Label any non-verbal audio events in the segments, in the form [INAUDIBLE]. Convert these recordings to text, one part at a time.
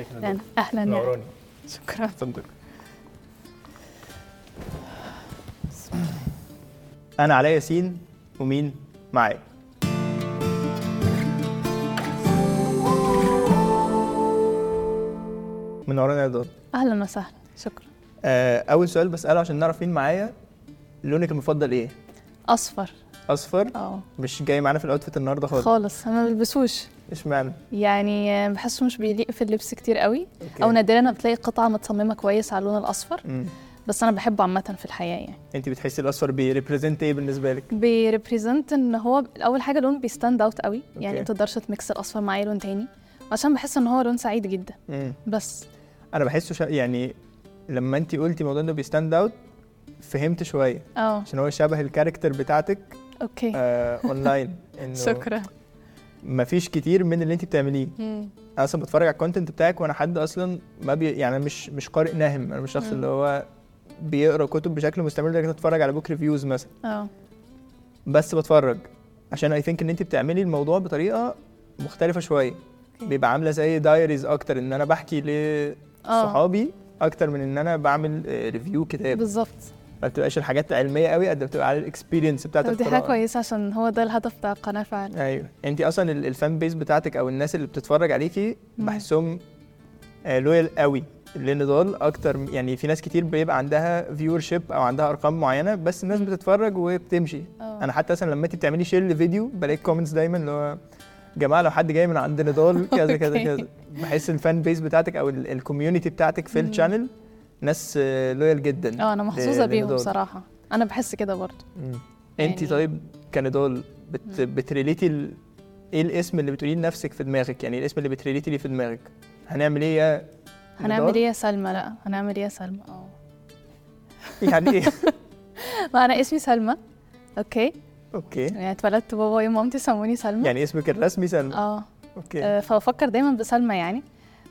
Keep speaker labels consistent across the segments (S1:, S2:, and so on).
S1: اهلا اهلا يعني.
S2: نوروني
S1: شكرا
S2: صندوق انا عليا سين ومين معايا من ورانا يا دار
S1: اهلا وسهلا شكرا
S2: آه، اول سؤال بساله عشان نعرف مين معايا لونك المفضل ايه
S1: اصفر
S2: اصفر
S1: اه
S2: مش جاي معانا في الاوتفيت النهارده خالص
S1: خالص أنا ما بلبسوش
S2: اشمعنى
S1: يعني بحسه مش بيليق في اللبس كتير قوي
S2: أوكي.
S1: او نادرا بتلاقي قطعه متصممه كويس على اللون الاصفر
S2: مم.
S1: بس انا بحبه عامه في الحياه يعني
S2: انت بتحسي الاصفر بيريبريزنت ايه بالنسبه لك
S1: بيريبريزنت ان هو اول حاجه لون بيستاند اوت قوي يعني
S2: أوكي.
S1: ما تقدرش تميكس الاصفر مع اي لون تاني عشان بحس ان هو لون سعيد جدا
S2: مم.
S1: بس
S2: انا بحسه شا... يعني لما انت قلتي موضوع انه بيستاند اوت فهمت شويه
S1: اه
S2: عشان هو شبه الكاركتر بتاعتك
S1: اوكي
S2: آه اونلاين انه
S1: شكرا
S2: مفيش كتير من اللي انت بتعمليه
S1: مم.
S2: انا اصلا بتفرج على الكونتنت بتاعك وانا حد اصلا ما بي يعني مش مش قارئ ناهم انا مش الشخص
S1: مم.
S2: اللي هو بيقرا كتب بشكل مستمر لدرجه إن أنا اتفرج على بوك ريفيوز مثلا
S1: اه
S2: بس بتفرج عشان اي ثينك ان انت بتعملي الموضوع بطريقه مختلفه شويه
S1: أوكي.
S2: بيبقى عامله زي دايريز اكتر ان انا بحكي
S1: اه
S2: لصحابي اكتر من ان انا بعمل ريفيو كتاب
S1: بالظبط
S2: ما بتبقاش الحاجات علميه قوي قد ما بتبقى على الاكسبيرينس بتاعت
S1: طب دي حاجه
S2: القراءة.
S1: كويسه عشان هو ده الهدف بتاع القناه فعلا
S2: ايوه انت اصلا ال- الفان بيس بتاعتك او الناس اللي بتتفرج عليكي
S1: مم.
S2: بحسهم لويال قوي للنضال اكتر م- يعني في ناس كتير بيبقى عندها فيور شيب او عندها ارقام معينه بس الناس
S1: مم.
S2: بتتفرج وبتمشي
S1: اه
S2: انا حتى مثلا لما انت بتعملي شير لفيديو بلاقي كومنتس دايما اللي هو جماعه لو حد جاي من عند
S1: [LAUGHS]
S2: نضال كذا كذا
S1: أوكي.
S2: كذا بحس الفان بيس بتاعتك او الكوميونتي بتاعتك في
S1: مم.
S2: الشانل ناس آه، لويال جدا
S1: اه انا محظوظه
S2: ل-
S1: بيهم
S2: لنضال.
S1: بصراحه انا بحس كده برضه
S2: مم. انت
S1: يعني-
S2: طيب كنضال بت...
S1: مم.
S2: بتريليتي ال... ايه الاسم اللي بتقوليه لنفسك في دماغك يعني الاسم اللي بتريليتي ليه في دماغك هنعمل ايه يا [LAUGHS]
S1: هنعمل
S2: نضال؟
S1: ايه يا سلمى لا هنعمل ايه يا سلمى [LAUGHS] اه [LAUGHS]
S2: يعني ايه
S1: ما انا اسمي سلمى اوكي
S2: اوكي
S1: يعني اتولدت بابا ومامتي مامتي سموني سلمى
S2: إيه؟ يعني اسمك الرسمي سلمى
S1: اه
S2: اوكي
S1: آه، فبفكر دايما بسلمى يعني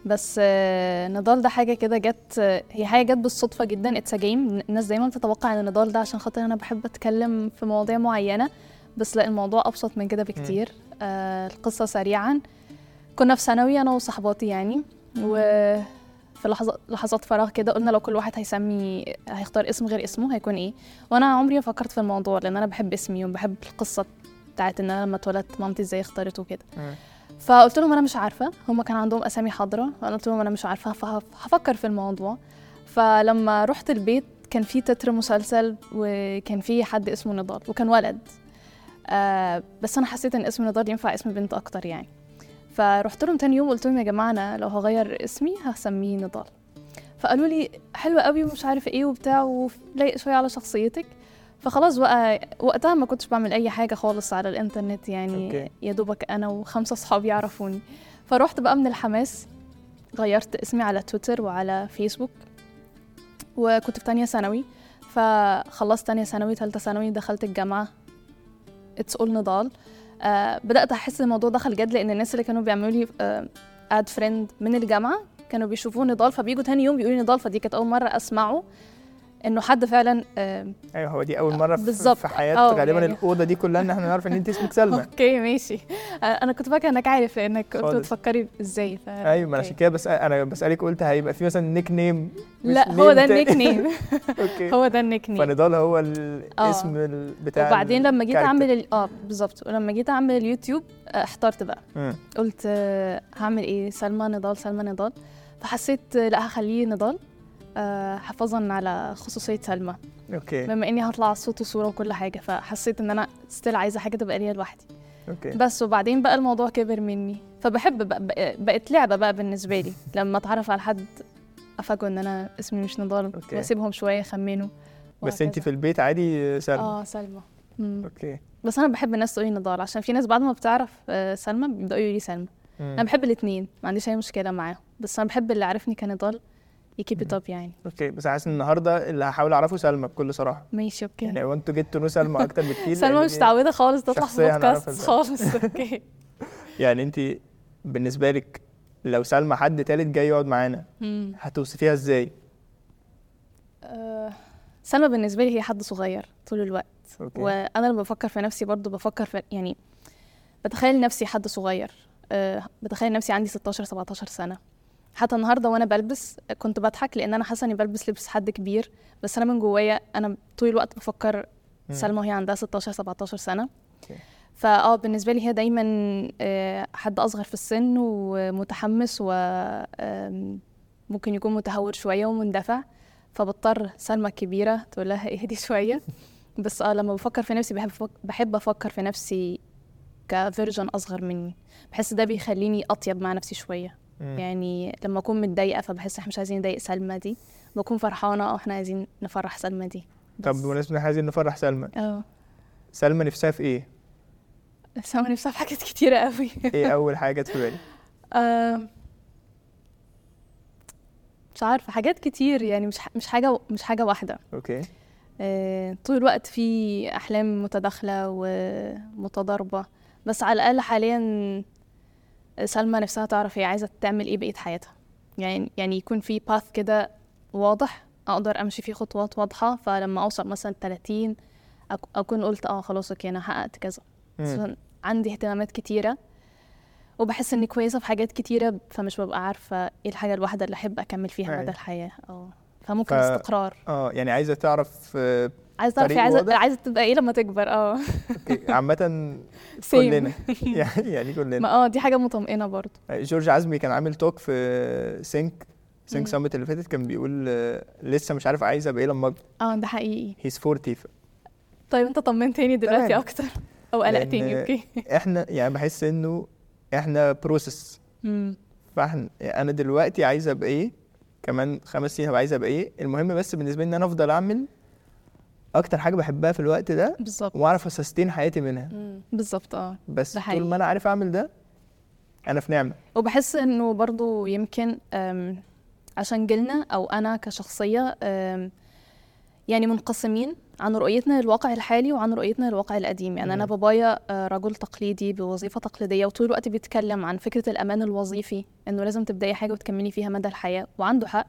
S1: بس آه، نضال ده حاجه كده جت آه، هي حاجه جت بالصدفه جدا اتس جيم الناس دايما بتتوقع ان نضال ده عشان خاطر انا بحب اتكلم في مواضيع معينه بس لا الموضوع ابسط من كده بكتير آه القصه سريعا كنا في ثانوي انا وصحباتي يعني وفي لحظات لحظات فراغ كده قلنا لو كل واحد هيسمي هيختار اسم غير اسمه هيكون ايه وانا عمري ما فكرت في الموضوع لان انا بحب اسمي وبحب القصه بتاعت ان انا لما اتولدت مامتي ازاي اختارته وكده
S2: مم.
S1: فقلت لهم انا مش عارفه هم كان عندهم اسامي حاضره انا قلت لهم انا مش عارفه فه- هفكر في الموضوع فلما رحت البيت كان في تتر مسلسل وكان في حد اسمه نضال وكان ولد آه بس انا حسيت ان اسم نضال ينفع اسم بنت اكتر يعني فرحت لهم تاني يوم قلت لهم يا جماعه انا لو هغير اسمي هسميه نضال فقالوا لي حلوه قوي ومش عارف ايه وبتاع ولايق شويه على شخصيتك فخلاص بقى وقتها ما كنتش بعمل اي حاجه خالص على الانترنت يعني
S2: أوكي.
S1: يا دوبك انا وخمسه اصحابي يعرفوني فروحت بقى من الحماس غيرت اسمي على تويتر وعلى فيسبوك وكنت في تانية ثانوي فخلصت تانية ثانوي تالتة ثانوي دخلت الجامعة اتس اول نضال آه بدأت أحس إن الموضوع دخل جد لأن الناس اللي كانوا بيعملوا لي اد فريند من الجامعة كانوا بيشوفوه نضال فبيجوا تاني يوم بيقولوا لي نضال فدي كانت أول مرة أسمعه إنه حد فعلا آه
S2: ايوه هو دي اول مره في,
S1: بالظبط.
S2: في حياه
S1: اه،
S2: غالبا
S1: يعني-
S2: الاوضه دي كلها ان احنا نعرف ان
S1: [LAUGHS]
S2: انت اسمك سلمى
S1: اوكي ماشي آه، انا كنت فاكره انك عارف لانك كنت
S2: خالص.
S1: بتفكري ازاي ف...
S2: ايوه ما انا عشان كده بس انا بسالك قلت هيبقى في مثلا نيك نيم
S1: لا هو ده النيك
S2: [LAUGHS]
S1: نيم [LAUGHS]
S2: اوكي
S1: هو ده النيك نيم
S2: فنضال هو الاسم ال- بتاع
S1: وبعدين لما جيت
S2: الكاركتر.
S1: اعمل ال- اه بالظبط ولما جيت اعمل اليوتيوب آه، احترت بقى
S2: مم.
S1: قلت آه، هعمل ايه سلمى نضال سلمى نضال فحسيت آه، لا هخليه نضال آه، حفاظا على خصوصيه سلمى
S2: اوكي
S1: بما اني هطلع صوت وصوره وكل حاجه فحسيت ان انا ستيل عايزه حاجه تبقى ليا لوحدي
S2: اوكي
S1: بس وبعدين بقى الموضوع كبر مني فبحب بقى بقى- بقت لعبه بقى بالنسبه
S2: [LAUGHS]
S1: لي لما اتعرف على حد افاجئه ان انا اسمي مش نضال
S2: أوكي.
S1: واسيبهم شويه يخمنوا
S2: بس انت
S1: وهكذا.
S2: في البيت عادي سلمى
S1: اه سلمى مم.
S2: اوكي
S1: بس انا بحب الناس تقولي نضال عشان في ناس بعد ما بتعرف آه، سلمى بيبداوا يقولوا لي سلمى
S2: مم.
S1: انا بحب الاثنين ما عنديش اي مشكله معاهم بس انا بحب اللي عارفني كنضال يكيب ات اب يعني
S2: اوكي بس حاسس ان النهارده اللي هحاول اعرفه سلمى بكل صراحه
S1: ماشي اوكي
S2: يعني وانت جيت نو سلمى اكتر بكتير
S1: سلمى
S2: لأن
S1: مش
S2: دي-
S1: متعوده خالص تطلع في
S2: شخصية هنعرفها
S1: بودكاست
S2: إزاي.
S1: خالص
S2: [LAUGHS]
S1: اوكي
S2: يعني انت بالنسبه لك لو سلمى حد تالت جاي يقعد معانا
S1: مم.
S2: هتوصفيها ازاي؟
S1: آه، سلمى بالنسبه لي هي حد صغير طول الوقت
S2: اوكي
S1: وانا لما بفكر في نفسي برضو بفكر في يعني آه، بتخيل نفسي حد صغير أه بتخيل نفسي عندي 16 17 سنه حتى النهارده وانا بلبس كنت بضحك لان انا حاسه اني بلبس لبس حد كبير بس انا من جوايا انا طول الوقت بفكر
S2: مم.
S1: سلمى وهي عندها 16 17 سنه
S2: أوكي.
S1: فاه بالنسبه لي هي دايما آه، حد اصغر في السن ومتحمس وممكن يكون متهور شويه ومندفع فبضطر سلمى الكبيره تقول لها اهدي
S2: [LAUGHS]
S1: شويه بس اه لما بفكر في نفسي بحب أفك- بحب افكر في نفسي كفيرجن اصغر مني بحس ده بيخليني اطيب مع نفسي شويه
S2: مم.
S1: يعني لما اكون متضايقه فبحس احنا مش عايزين نضايق سلمى دي بكون فرحانه او احنا عايزين نفرح سلمى دي
S2: طب
S1: بس-
S2: بمناسبه ان احنا عايزين نفرح سلمى
S1: اه
S2: سلمى نفسها في ايه؟
S1: سلمى نفسها في حاجات كتيره قوي [LAUGHS]
S2: ايه اول حاجه جت في بالي؟
S1: آه، مش عارفه حاجات كتير يعني مش ح- مش حاجه مش حاجه واحده
S2: اوكي
S1: آه، طول الوقت في احلام متداخله ومتضاربه بس على الاقل حاليا سلمى نفسها تعرف هي عايزه تعمل ايه بقيه حياتها يعني يعني يكون في باث كده واضح اقدر امشي فيه خطوات واضحه فلما اوصل مثلا 30 أك- اكون قلت اه خلاص اوكي انا حققت كذا
S2: مم.
S1: خصوصاً عندي اهتمامات كتيره وبحس اني كويسه في حاجات كتيره فمش ببقى عارفه ايه الحاجه الواحده اللي احب اكمل فيها
S2: أيوة.
S1: مدى الحياه اه فممكن
S2: ف-
S1: استقرار
S2: اه يعني عايزه تعرف آه،
S1: عايزه تعرف
S2: طريق
S1: عايزه
S2: واضح؟
S1: عايزه تبقى ايه لما تكبر
S2: [LAUGHS]
S1: اه
S2: أوكي،
S1: [LAUGHS]
S2: عامه
S1: Same.
S2: كلنا [LAUGHS] يعني- يعني كلنا آه،
S1: ما اه دي حاجه مطمئنه برضو
S2: جورج عزمي كان عامل توك في سينك سينك
S1: مم.
S2: سامت اللي فاتت كان بيقول آه، لسه مش عارف عايز ابقى ايه لما اكبر
S1: اه ده حقيقي
S2: هيز
S1: [LAUGHS]
S2: 40 ف-
S1: طيب انت طمنتني دلوقتي
S2: تمام.
S1: اكتر او قلقتني
S2: لأن-
S1: اوكي
S2: احنا يعني بحس انه احنا بروسس
S1: [LAUGHS] مم.
S2: فاحنا يعني انا دلوقتي عايز ابقى ايه كمان خمس سنين هبقى عايز ابقى ايه المهم بس بالنسبه لي ان انا افضل اعمل اكتر حاجه بحبها في الوقت ده
S1: بالظبط
S2: واعرف اسستين حياتي منها
S1: مم. بالظبط اه ده
S2: بس طول
S1: حقيقي.
S2: ما انا عارف اعمل ده انا في نعمه
S1: وبحس انه برضو يمكن أم، عشان جيلنا او انا كشخصيه أم، يعني منقسمين عن رؤيتنا للواقع الحالي وعن رؤيتنا للواقع القديم يعني انا
S2: مم.
S1: بابايا آه، رجل تقليدي بوظيفه تقليديه وطول الوقت بيتكلم عن فكره الامان الوظيفي انه لازم تبداي حاجه وتكملي فيها مدى الحياه وعنده حق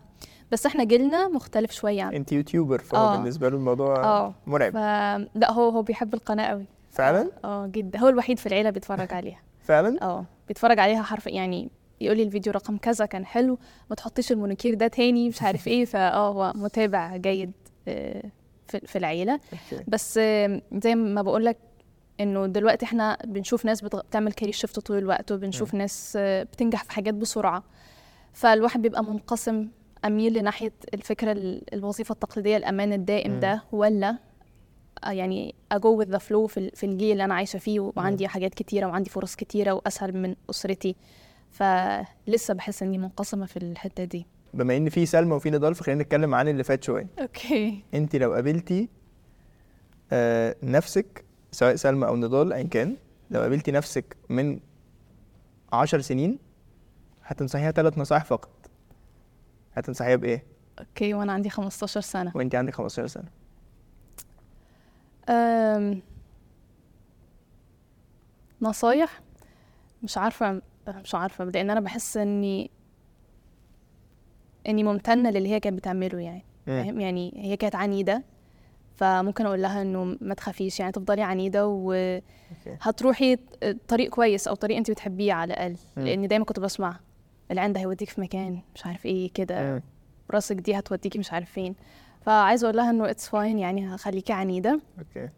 S1: بس احنا جيلنا مختلف يعني. شويه عن
S2: انت يوتيوبر فهو
S1: آه.
S2: بالنسبه له الموضوع
S1: اه
S2: مرعب
S1: فلا هو هو بيحب القناه قوي
S2: فعلا
S1: اه جدا هو الوحيد في العيله بيتفرج عليها
S2: فعلا
S1: اه بيتفرج عليها حرف يعني يقول لي الفيديو رقم كذا كان حلو ما تحطيش المونوكير ده تاني مش عارف ايه فاه هو متابع جيد آه، في في العيله
S2: أوكي.
S1: بس آم، زي ما بقول لك انه دلوقتي احنا بنشوف ناس بتغ... بتعمل كارير شيفت طول الوقت وبنشوف ناس آه، بتنجح في حاجات بسرعه فالواحد بيبقى منقسم اميل لناحيه الفكره ال- الوظيفه التقليديه الامان الدائم
S2: مم.
S1: ده ولا آه، يعني اجو وذ ذا فلو في ال- في الجيل اللي انا عايشه فيه وعندي حاجات كتيره وعندي فرص كتيره واسهل من اسرتي فلسه بحس اني منقسمه في الحته دي
S2: بما ان في سلمى وفي نضال فخلينا نتكلم عن اللي فات شويه
S1: اوكي
S2: انت لو قابلتي آه نفسك سواء سلمى او نضال ايا كان لو قابلتي نفسك من عشر سنين هتنصحيها ثلاث نصائح فقط هتنصحيها بايه
S1: اوكي وانا عندي 15 سنه
S2: وانت عندك 15 سنه
S1: أم، نصايح مش عارفة مش عارفة لأن أنا بحس إني إني ممتنة للي هي كانت بتعمله يعني
S2: مم.
S1: فاهم يعني هي كانت عنيدة فممكن أقول لها إنه ما تخافيش يعني تفضلي عنيدة
S2: أوكي.
S1: وهتروحي طريق كويس أو طريق أنت بتحبيه على الأقل
S2: مم.
S1: لأني دايما كنت بسمع العند هيوديك في مكان مش عارف إيه كده
S2: مم.
S1: راسك دي هتوديكي مش عارف فين فعايزة أقول لها إنه اتس فاين يعني هخليكي عنيدة
S2: اوكي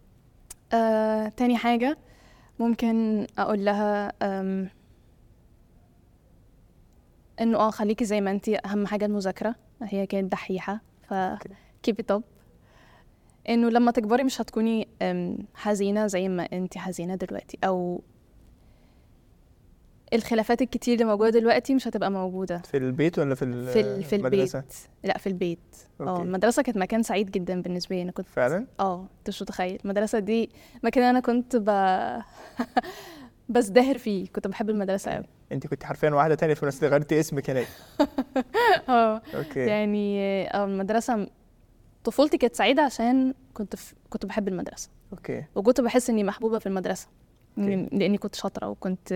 S1: آه، تاني حاجة ممكن أقول لها أم، إنه آه خليكي زي ما أنتي أهم حاجة المذاكرة هي كانت دحيحة ف keep it up إنه لما تكبري مش هتكوني أم، حزينة زي ما أنتي حزينة دلوقتي أو الخلافات الكتير اللي موجودة دلوقتي مش هتبقى موجودة
S2: في البيت ولا في ال-
S1: في ال- في البيت
S2: المدرسه
S1: لا في البيت اه
S2: اوكي
S1: المدرسة كانت مكان سعيد جدا بالنسبة لي أنا كنت
S2: فعلا
S1: اه انت مش متخيل المدرسة دي مكان انا كنت ب... [LAUGHS] بزدهر فيه كنت بحب المدرسة
S2: [LAUGHS]
S1: قوي
S2: انت كنت حرفيا واحده تانية في نفس غيرتي اسمك هناك
S1: اه
S2: اوكي
S1: يعني آه، المدرسة م- طفولتي كانت سعيدة عشان كنت في... كنت بحب المدرسة
S2: اوكي
S1: وكنت بحس اني محبوبة في المدرسة
S2: أوكي.
S1: م- لاني كنت شاطرة وكنت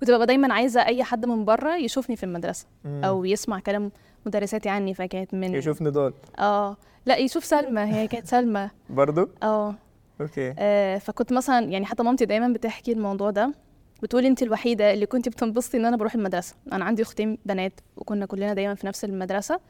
S1: كنت ببقى دايما عايزة اي حد من بره يشوفني في المدرسة
S2: مم.
S1: او يسمع كلام مدرساتي عني فكانت من
S2: يشوف نضال
S1: اه لا يشوف سلمى هي كانت سلمى
S2: برضو
S1: اه
S2: اوكي
S1: أه، آه، فكنت مثلا يعني حتى مامتي دايما بتحكي الموضوع ده بتقولي انت الوحيده اللي كنت بتنبسطي ان انا بروح المدرسه انا عندي اختين بنات وكنا كلنا دايما في نفس المدرسه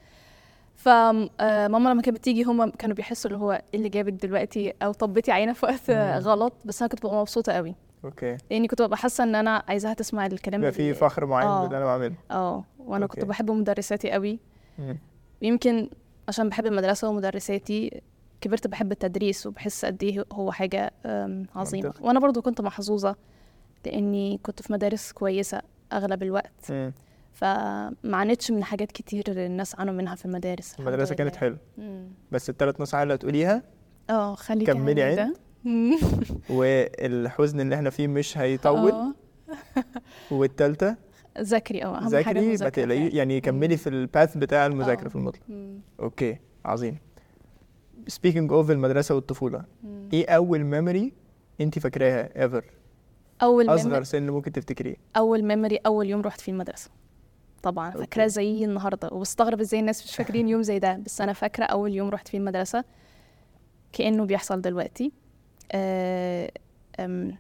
S1: فماما لما كانت بتيجي هما كانوا بيحسوا اللي هو إيه اللي جابك دلوقتي او طبيتي عينه في وقت آه،
S2: مم.
S1: غلط بس انا كنت ببقى مبسوطه قوي
S2: اوكي
S1: لاني كنت ببقى حاسه ان انا عايزاها تسمع الكلام
S2: بيبقى
S1: اللي-
S2: في فخر معين
S1: آه.
S2: باللي انا بعمله
S1: اه وانا كنت
S2: أوكي.
S1: بحب مدرساتي قوي
S2: مم.
S1: يمكن عشان بحب المدرسة ومدرساتي كبرت بحب التدريس وبحس قد ايه هو حاجة أم، عظيمة
S2: منطقي.
S1: وانا برضو كنت محظوظة لاني كنت في مدارس كويسة اغلب الوقت
S2: مم.
S1: فمعانيتش من حاجات كتير الناس عانوا منها في المدارس الحمد
S2: المدرسه كانت
S1: لله.
S2: حلوه
S1: مم.
S2: بس الثلاث نصائح اللي هتقوليها
S1: اه خليك
S2: كملي
S1: على
S2: عين.
S1: ده. مم.
S2: والحزن اللي احنا فيه مش
S1: [LAUGHS]
S2: هيطول
S1: آه،
S2: والثالثه
S1: ذاكري اه اهم حاجة
S2: ذاكري ما
S1: المذاكرة
S2: تقلقي
S1: فعلا.
S2: يعني كملي في الباث بتاع المذاكره
S1: آه.
S2: في المطلق
S1: مم.
S2: اوكي عظيم سبيكينج اوف المدرسه والطفوله
S1: مم.
S2: ايه اول ميموري انت فاكراها ايفر
S1: اول ميموري-
S2: اصغر سن ممكن تفتكريه
S1: اول ميموري اول يوم رحت فيه المدرسه طبعا
S2: أوكي.
S1: فاكراه زي النهارده وبستغرب ازاي الناس مش فاكرين يوم زي ده بس انا فاكره اول يوم رحت فيه المدرسه كانه بيحصل دلوقتي آه، أم،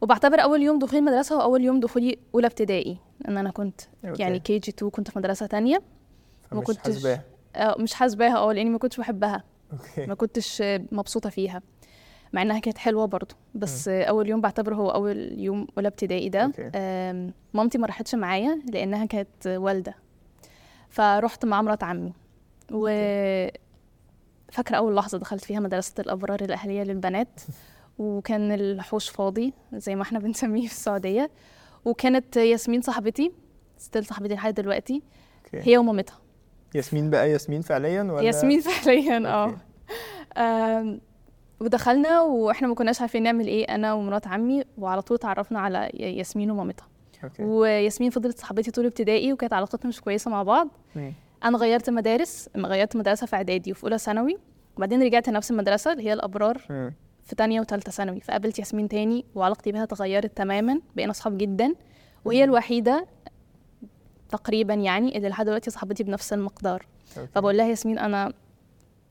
S1: وبعتبر اول يوم دخولي المدرسه هو اول يوم دخولي اولى ابتدائي ان انا كنت
S2: أوكي.
S1: يعني كي جي 2 كنت في مدرسه تانية ما
S2: فمش
S1: كنتش-
S2: حاسباها
S1: آه، مش حاسباها اه لاني ما كنتش بحبها
S2: اوكي
S1: [LAUGHS] ما كنتش آه، مبسوطه فيها مع انها كانت حلوه برضو بس آه، اول يوم بعتبره هو اول يوم اولى ابتدائي ده
S2: أوكي.
S1: آم، مامتي ما راحتش معايا لانها كانت آه، والده فروحت مع مرات عمي و فاكره اول لحظه دخلت فيها مدرسه الابرار الاهليه للبنات وكان الحوش فاضي زي ما احنا بنسميه في السعوديه وكانت ياسمين صاحبتي ستيل صاحبتي لحد دلوقتي
S2: اوكي
S1: هي ومامتها
S2: ياسمين بقى ياسمين فعليا ولا
S1: ياسمين فعليا اه
S2: أوكي.
S1: آم، ودخلنا واحنا ما كناش عارفين نعمل ايه انا ومرات عمي وعلى طول اتعرفنا على ي- ياسمين ومامتها
S2: اوكي
S1: وياسمين فضلت صاحبتي طول ابتدائي وكانت علاقتنا مش كويسه مع بعض
S2: مم.
S1: انا غيرت مدارس غيرت مدرسه في اعدادي وفي اولى ثانوي وبعدين رجعت نفس المدرسه اللي هي الابرار
S2: مم.
S1: في تانية وتالتة ثانوي فقابلت ياسمين تاني وعلاقتي بها اتغيرت تماما بقينا اصحاب جدا وهي الوحيده تقريبا يعني اللي لحد دلوقتي صاحبتي بنفس المقدار
S2: أوكي.
S1: فبقول لها ياسمين انا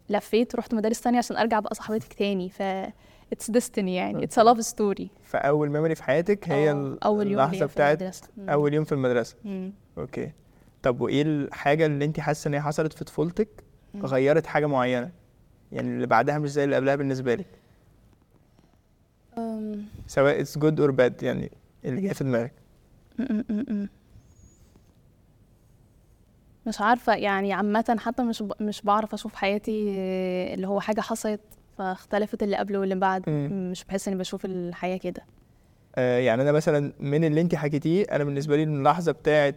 S1: لفيت ورحت مدارس تانية عشان ارجع ابقى صاحبتك تاني ف اتس ديستني يعني اتس لاف ستوري
S2: فاول ميموري في حياتك هي ال-
S1: اول آه، اه، يوم
S2: اللحظه
S1: ليا في
S2: بتاعت
S1: المدرسة. مم.
S2: اول يوم في المدرسه
S1: مم.
S2: اوكي طب وايه الحاجه اللي انت حاسه ان هي حصلت في طفولتك
S1: مم.
S2: غيرت حاجه معينه يعني اللي بعدها مش زي اللي قبلها بالنسبه لك
S1: أم،
S2: سواء اتس جود اور باد يعني اللي جاي في دماغك
S1: م- م- م- م. مش عارفة يعني عامة حتى مش ب... مش بعرف أشوف حياتي آه، اللي هو حاجة حصلت فاختلفت اللي قبل واللي بعد
S2: مم.
S1: مش بحس إني بشوف الحياة كده
S2: آه يعني انا مثلا من اللي انت حكيتيه انا بالنسبه لي اللحظه بتاعت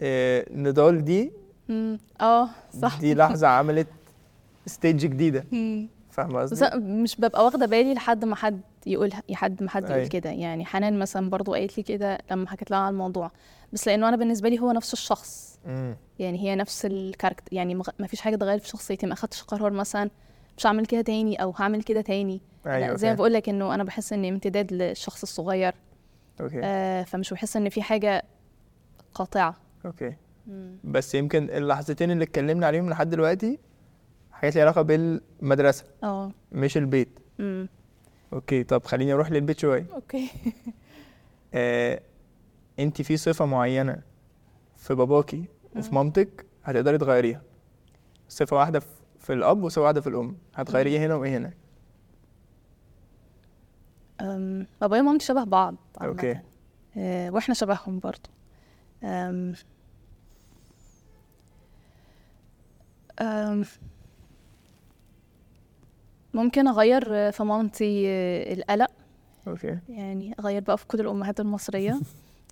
S2: آه نضال دي
S1: مم. اه صح
S2: دي لحظه عملت ستيج جديده
S1: مم.
S2: فاهمه
S1: بس
S2: قصدي
S1: أنا مش ببقى واخده بالي لحد ما حد يقولها لحد ما حد
S2: أيوة.
S1: يقول كده يعني حنان مثلا برضو قالت لي كده لما حكيت لها على الموضوع بس لانه انا بالنسبه لي هو نفس الشخص
S2: مم.
S1: يعني هي نفس الكاركتر يعني ما فيش حاجه اتغيرت في شخصيتي ما اخدتش قرار مثلا مش هعمل كده تاني او هعمل كده تاني أنا
S2: ايوه
S1: زي ما
S2: فاهم.
S1: بقول لك انه انا بحس اني امتداد للشخص الصغير
S2: اوكي
S1: آه فمش بحس ان في حاجه قاطعه
S2: اوكي بس يمكن اللحظتين اللي اتكلمنا عليهم لحد دلوقتي حاجات ليها علاقه بالمدرسه
S1: اه
S2: مش البيت
S1: أمم.
S2: اوكي طب خليني اروح للبيت شويه
S1: اوكي
S2: آه، انت في صفه معينه في باباكي وفي
S1: مم.
S2: مامتك هتقدري تغيريها صفه واحده في- في الاب وصفه واحده في الام هتغيري ايه هنا وايه هنا
S1: أم، بابايا ومامتي شبه بعض عامة.
S2: أوكي.
S1: آه، واحنا شبههم برضو أم أم ممكن اغير آه، في مامتي آه، القلق
S2: اوكي
S1: [LAUGHS] يعني اغير بقى في كل الامهات المصريه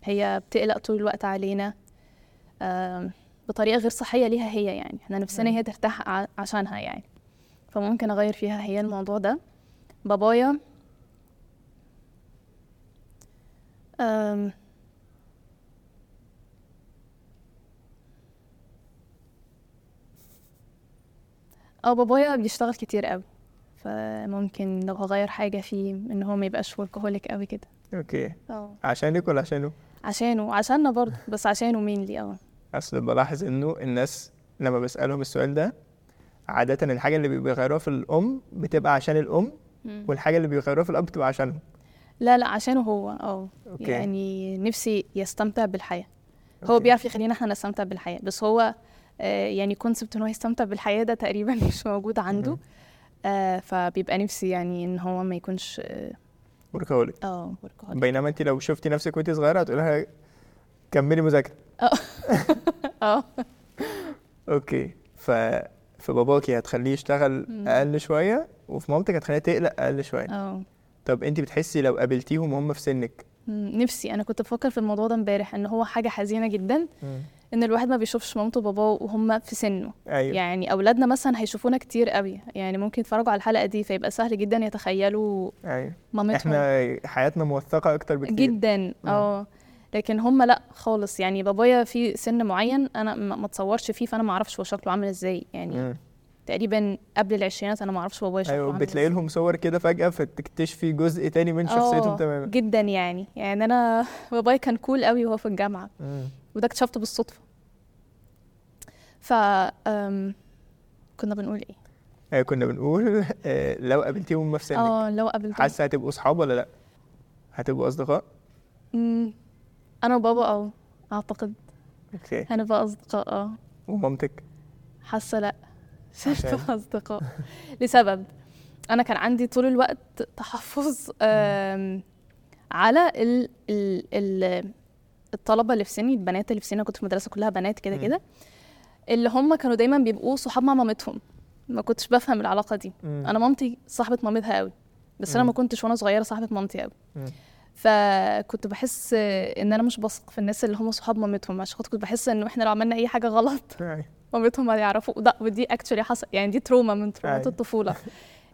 S1: هي بتقلق طول الوقت علينا آم، بطريقه غير صحيه ليها هي يعني احنا نفسنا هي ترتاح ع- عشانها يعني فممكن اغير فيها هي الموضوع ده بابايا أم اه بابايا بيشتغل كتير قوي فممكن لو هغير حاجه فيه ان هو ما يبقاش workaholic قوي كده
S2: اوكي
S1: اه
S2: عشانك ولا عشانه
S1: عشانه عشاننا برضه بس عشانه مين لي اه
S2: اصل بلاحظ انه الناس لما بسالهم السؤال ده عاده الحاجه اللي بيغيروها في الام بتبقى عشان الام والحاجه اللي بيغيروها في الاب بتبقى عشانهم
S1: لا لا عشانه هو اه
S2: اوكي
S1: يعني نفسي يستمتع بالحياة هو
S2: أوكي.
S1: بيعرف يخلينا احنا نستمتع بالحياة بس هو آه، يعني كونسبت ان هو يستمتع بالحياة ده تقريبا [LAUGHS] مش موجود عنده
S2: مهم.
S1: آه، فبيبقى نفسي يعني ان هو ما يكونش اه
S2: workaholic
S1: آه، workaholic.
S2: بينما انت لو شفتي نفسك وانت صغيره هتقولي لها كملي مذاكره
S1: اه
S2: اوكي ف في باباكي هتخليه يشتغل
S1: مم.
S2: اقل شويه وفي مامتك هتخليها تقلق اقل شويه
S1: اه
S2: طب انت بتحسي لو قابلتيهم وهم في سنك
S1: مم، نفسي انا كنت بفكر في الموضوع ده امبارح ان هو حاجة حزينة جدا ان الواحد ما بيشوفش مامته وباباه وهم في سنه
S2: ايوه
S1: يعني اولادنا مثلا هيشوفونا كتير قوي يعني ممكن يتفرجوا على الحلقة دي فيبقى سهل جدا يتخيلوا
S2: ايوه
S1: مامتهم
S2: احنا حياتنا موثقه اكتر بكتير نعم.
S1: جدا اه لكن هم لا خالص يعني بابايا في سن معين انا ما ما اتصورش فيه فانا ما اعرفش هو شكله عامل ازاي يعني
S2: مم.
S1: تقريبا قبل العشرينات انا ما اعرفش بابايا شكله
S2: ايوه
S1: عامل
S2: بتلاقي
S1: ازاي
S2: لهم صور كده فجاه فتكتشفي جزء تاني من
S1: آه،
S2: شخصيتهم تماما
S1: جدا يعني يعني انا [LAUGHS] بابايا كان كول قوي وهو في الجامعه
S2: مم.
S1: وده اكتشفته بالصدفه ف أم، كنا بنقول ايه
S2: آه، كنا بنقول آه، لو قابلتيهم هما في سنك
S1: اه لو قابلتهم
S2: حاسه هتبقوا صحاب ولا لا هتبقوا اصدقاء
S1: مم، انا وبابا اه اعتقد [LAUGHS]
S2: اوكي
S1: هنبقى اصدقاء اه
S2: ومامتك
S1: حاسه لا
S2: [LAUGHS]
S1: [LAUGHS]
S2: عشان؟
S1: شايفه اصدقاء لسبب انا كان عندي طول الوقت تحفظ آم، على ال ال ال الطلبه اللي في سني البنات اللي في سني أنا كنت في مدرسه كلها بنات كده
S2: مم.
S1: كده اللي هم كانوا دايما بيبقوا صحاب مع مامتهم ما كنتش بفهم العلاقه دي
S2: مم.
S1: انا مامتي صاحبه مامتها قوي بس انا
S2: مم.
S1: ما كنتش وانا صغيره صاحبه مامتي قوي
S2: مم.
S1: فكنت بحس ان انا مش بثق في الناس اللي هم صحاب مامتهم عشان خاطر كنت بحس ان احنا لو عملنا اي حاجه غلط
S2: أيوة.
S1: مامتهم هيعرفوا وده ودي اكشولي حصل يعني دي تروما من ترومات
S2: أيوة.
S1: [LAUGHS] الطفوله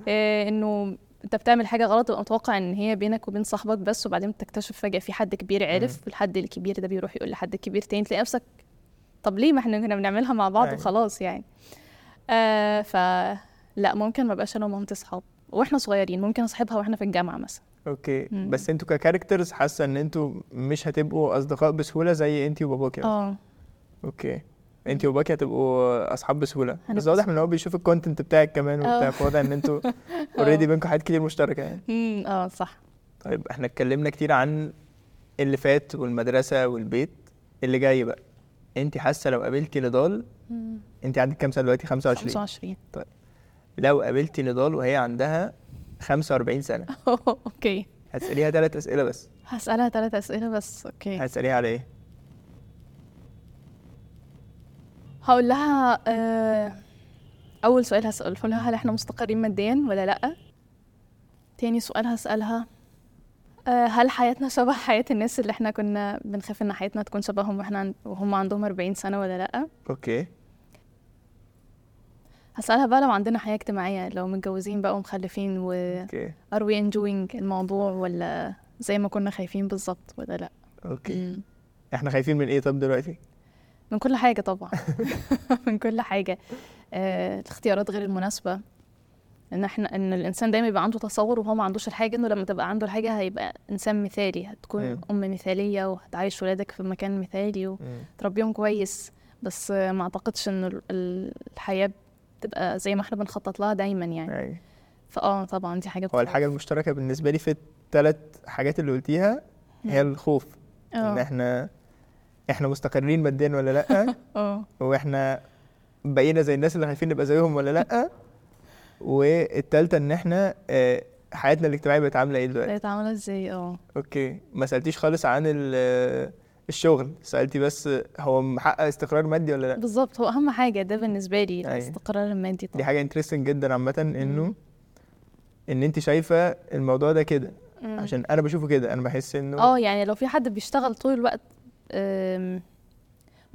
S1: إيه انه انت بتعمل حاجه غلط تبقى متوقع ان هي بينك وبين صاحبك بس وبعدين تكتشف فجاه في حد كبير عرف والحد الكبير ده بيروح يقول لحد كبير تاني تلاقي نفسك طب ليه ما احنا كنا بنعملها مع بعض
S2: أيوة.
S1: وخلاص يعني آه ف لا ممكن ما بقاش انا ومامتي اصحاب واحنا صغيرين ممكن اصاحبها واحنا في الجامعه مثلا
S2: اوكي
S1: مم.
S2: بس انتوا ككاركترز حاسه ان انتوا مش هتبقوا اصدقاء بسهوله زي انت وباباكي مثلاً.
S1: اه
S2: اوكي انت وباكي هتبقوا اصحاب بسهوله بس
S1: هنبقى
S2: واضح ان هو بيشوف الكونتنت بتاعك كمان
S1: [LAUGHS] آه.
S2: وبتاع فواضح ان انتوا اوريدي بينكم حاجات كتير مشتركه يعني
S1: امم اه صح
S2: طيب احنا اتكلمنا كتير عن اللي فات والمدرسه والبيت اللي جاي بقى انت حاسه لو قابلتي نضال
S1: مم.
S2: انت عندك كام سنه دلوقتي 25
S1: [LAUGHS] 25
S2: لو قابلتي نضال وهي عندها 45 سنه
S1: آه. اوكي
S2: هتساليها ثلاث اسئله بس
S1: هسألها ثلاث أسئلة بس اوكي
S2: هتساليها على ايه
S1: هقول لها آه، أول سؤال هسأله لها هل إحنا مستقرين ماديا ولا لأ؟ تاني سؤال هسألها آه، هل حياتنا شبه حياة الناس اللي إحنا كنا بنخاف إن حياتنا تكون شبههم وإحنا عن- وهم عندهم 40 سنة ولا لأ؟
S2: اوكي
S1: هسألها بقى لو عندنا حياة اجتماعية لو متجوزين بقى ومخلفين و
S2: اوكي
S1: are we enjoying الموضوع ولا زي ما كنا خايفين بالظبط ولا لأ؟
S2: اوكي احنا خايفين من ايه طب دلوقتي
S1: من كل حاجة طبعا [LAUGHS] من كل حاجة آه، الاختيارات غير المناسبة ان احنا ان الانسان دايما يبقى عنده تصور وهو ما عندوش الحاجة انه لما تبقى عنده الحاجة هيبقى انسان مثالي هتكون
S2: أيوة.
S1: ام مثالية وهتعيش ولادك في مكان مثالي وتربيهم كويس بس آه، ما اعتقدش ان ال- ال- الحياة بتبقى زي ما احنا بنخطط لها دايما يعني
S2: يعني
S1: فاه طبعا دي حاجة
S2: هو
S1: بتخوف.
S2: الحاجة المشتركة بالنسبة لي في الثلاث حاجات اللي قلتيها هي الخوف ان
S1: اه
S2: احنا احنا مستقرين ماديا ولا لا
S1: اه
S2: واحنا بقينا زي الناس اللي خايفين نبقى زيهم ولا لا والتالتة ان احنا آه، حياتنا الاجتماعية بقت عاملة ايه دلوقتي
S1: بقيت عاملة ازاي اه
S2: اوكي ما سألتيش خالص عن ال- آه، الشغل سألتي بس هو محقق استقرار مادي ولا لا
S1: بالظبط هو اهم حاجة ده بالنسبة لي
S2: أيوة.
S1: الاستقرار المادي
S2: دي
S1: طبعا
S2: حاجة انترستنج جدا عامة انه ان انت شايفة الموضوع ده كده
S1: مم.
S2: عشان انا بشوفه كده انا بحس انه
S1: اه يعني لو في حد بيشتغل طول الوقت أم،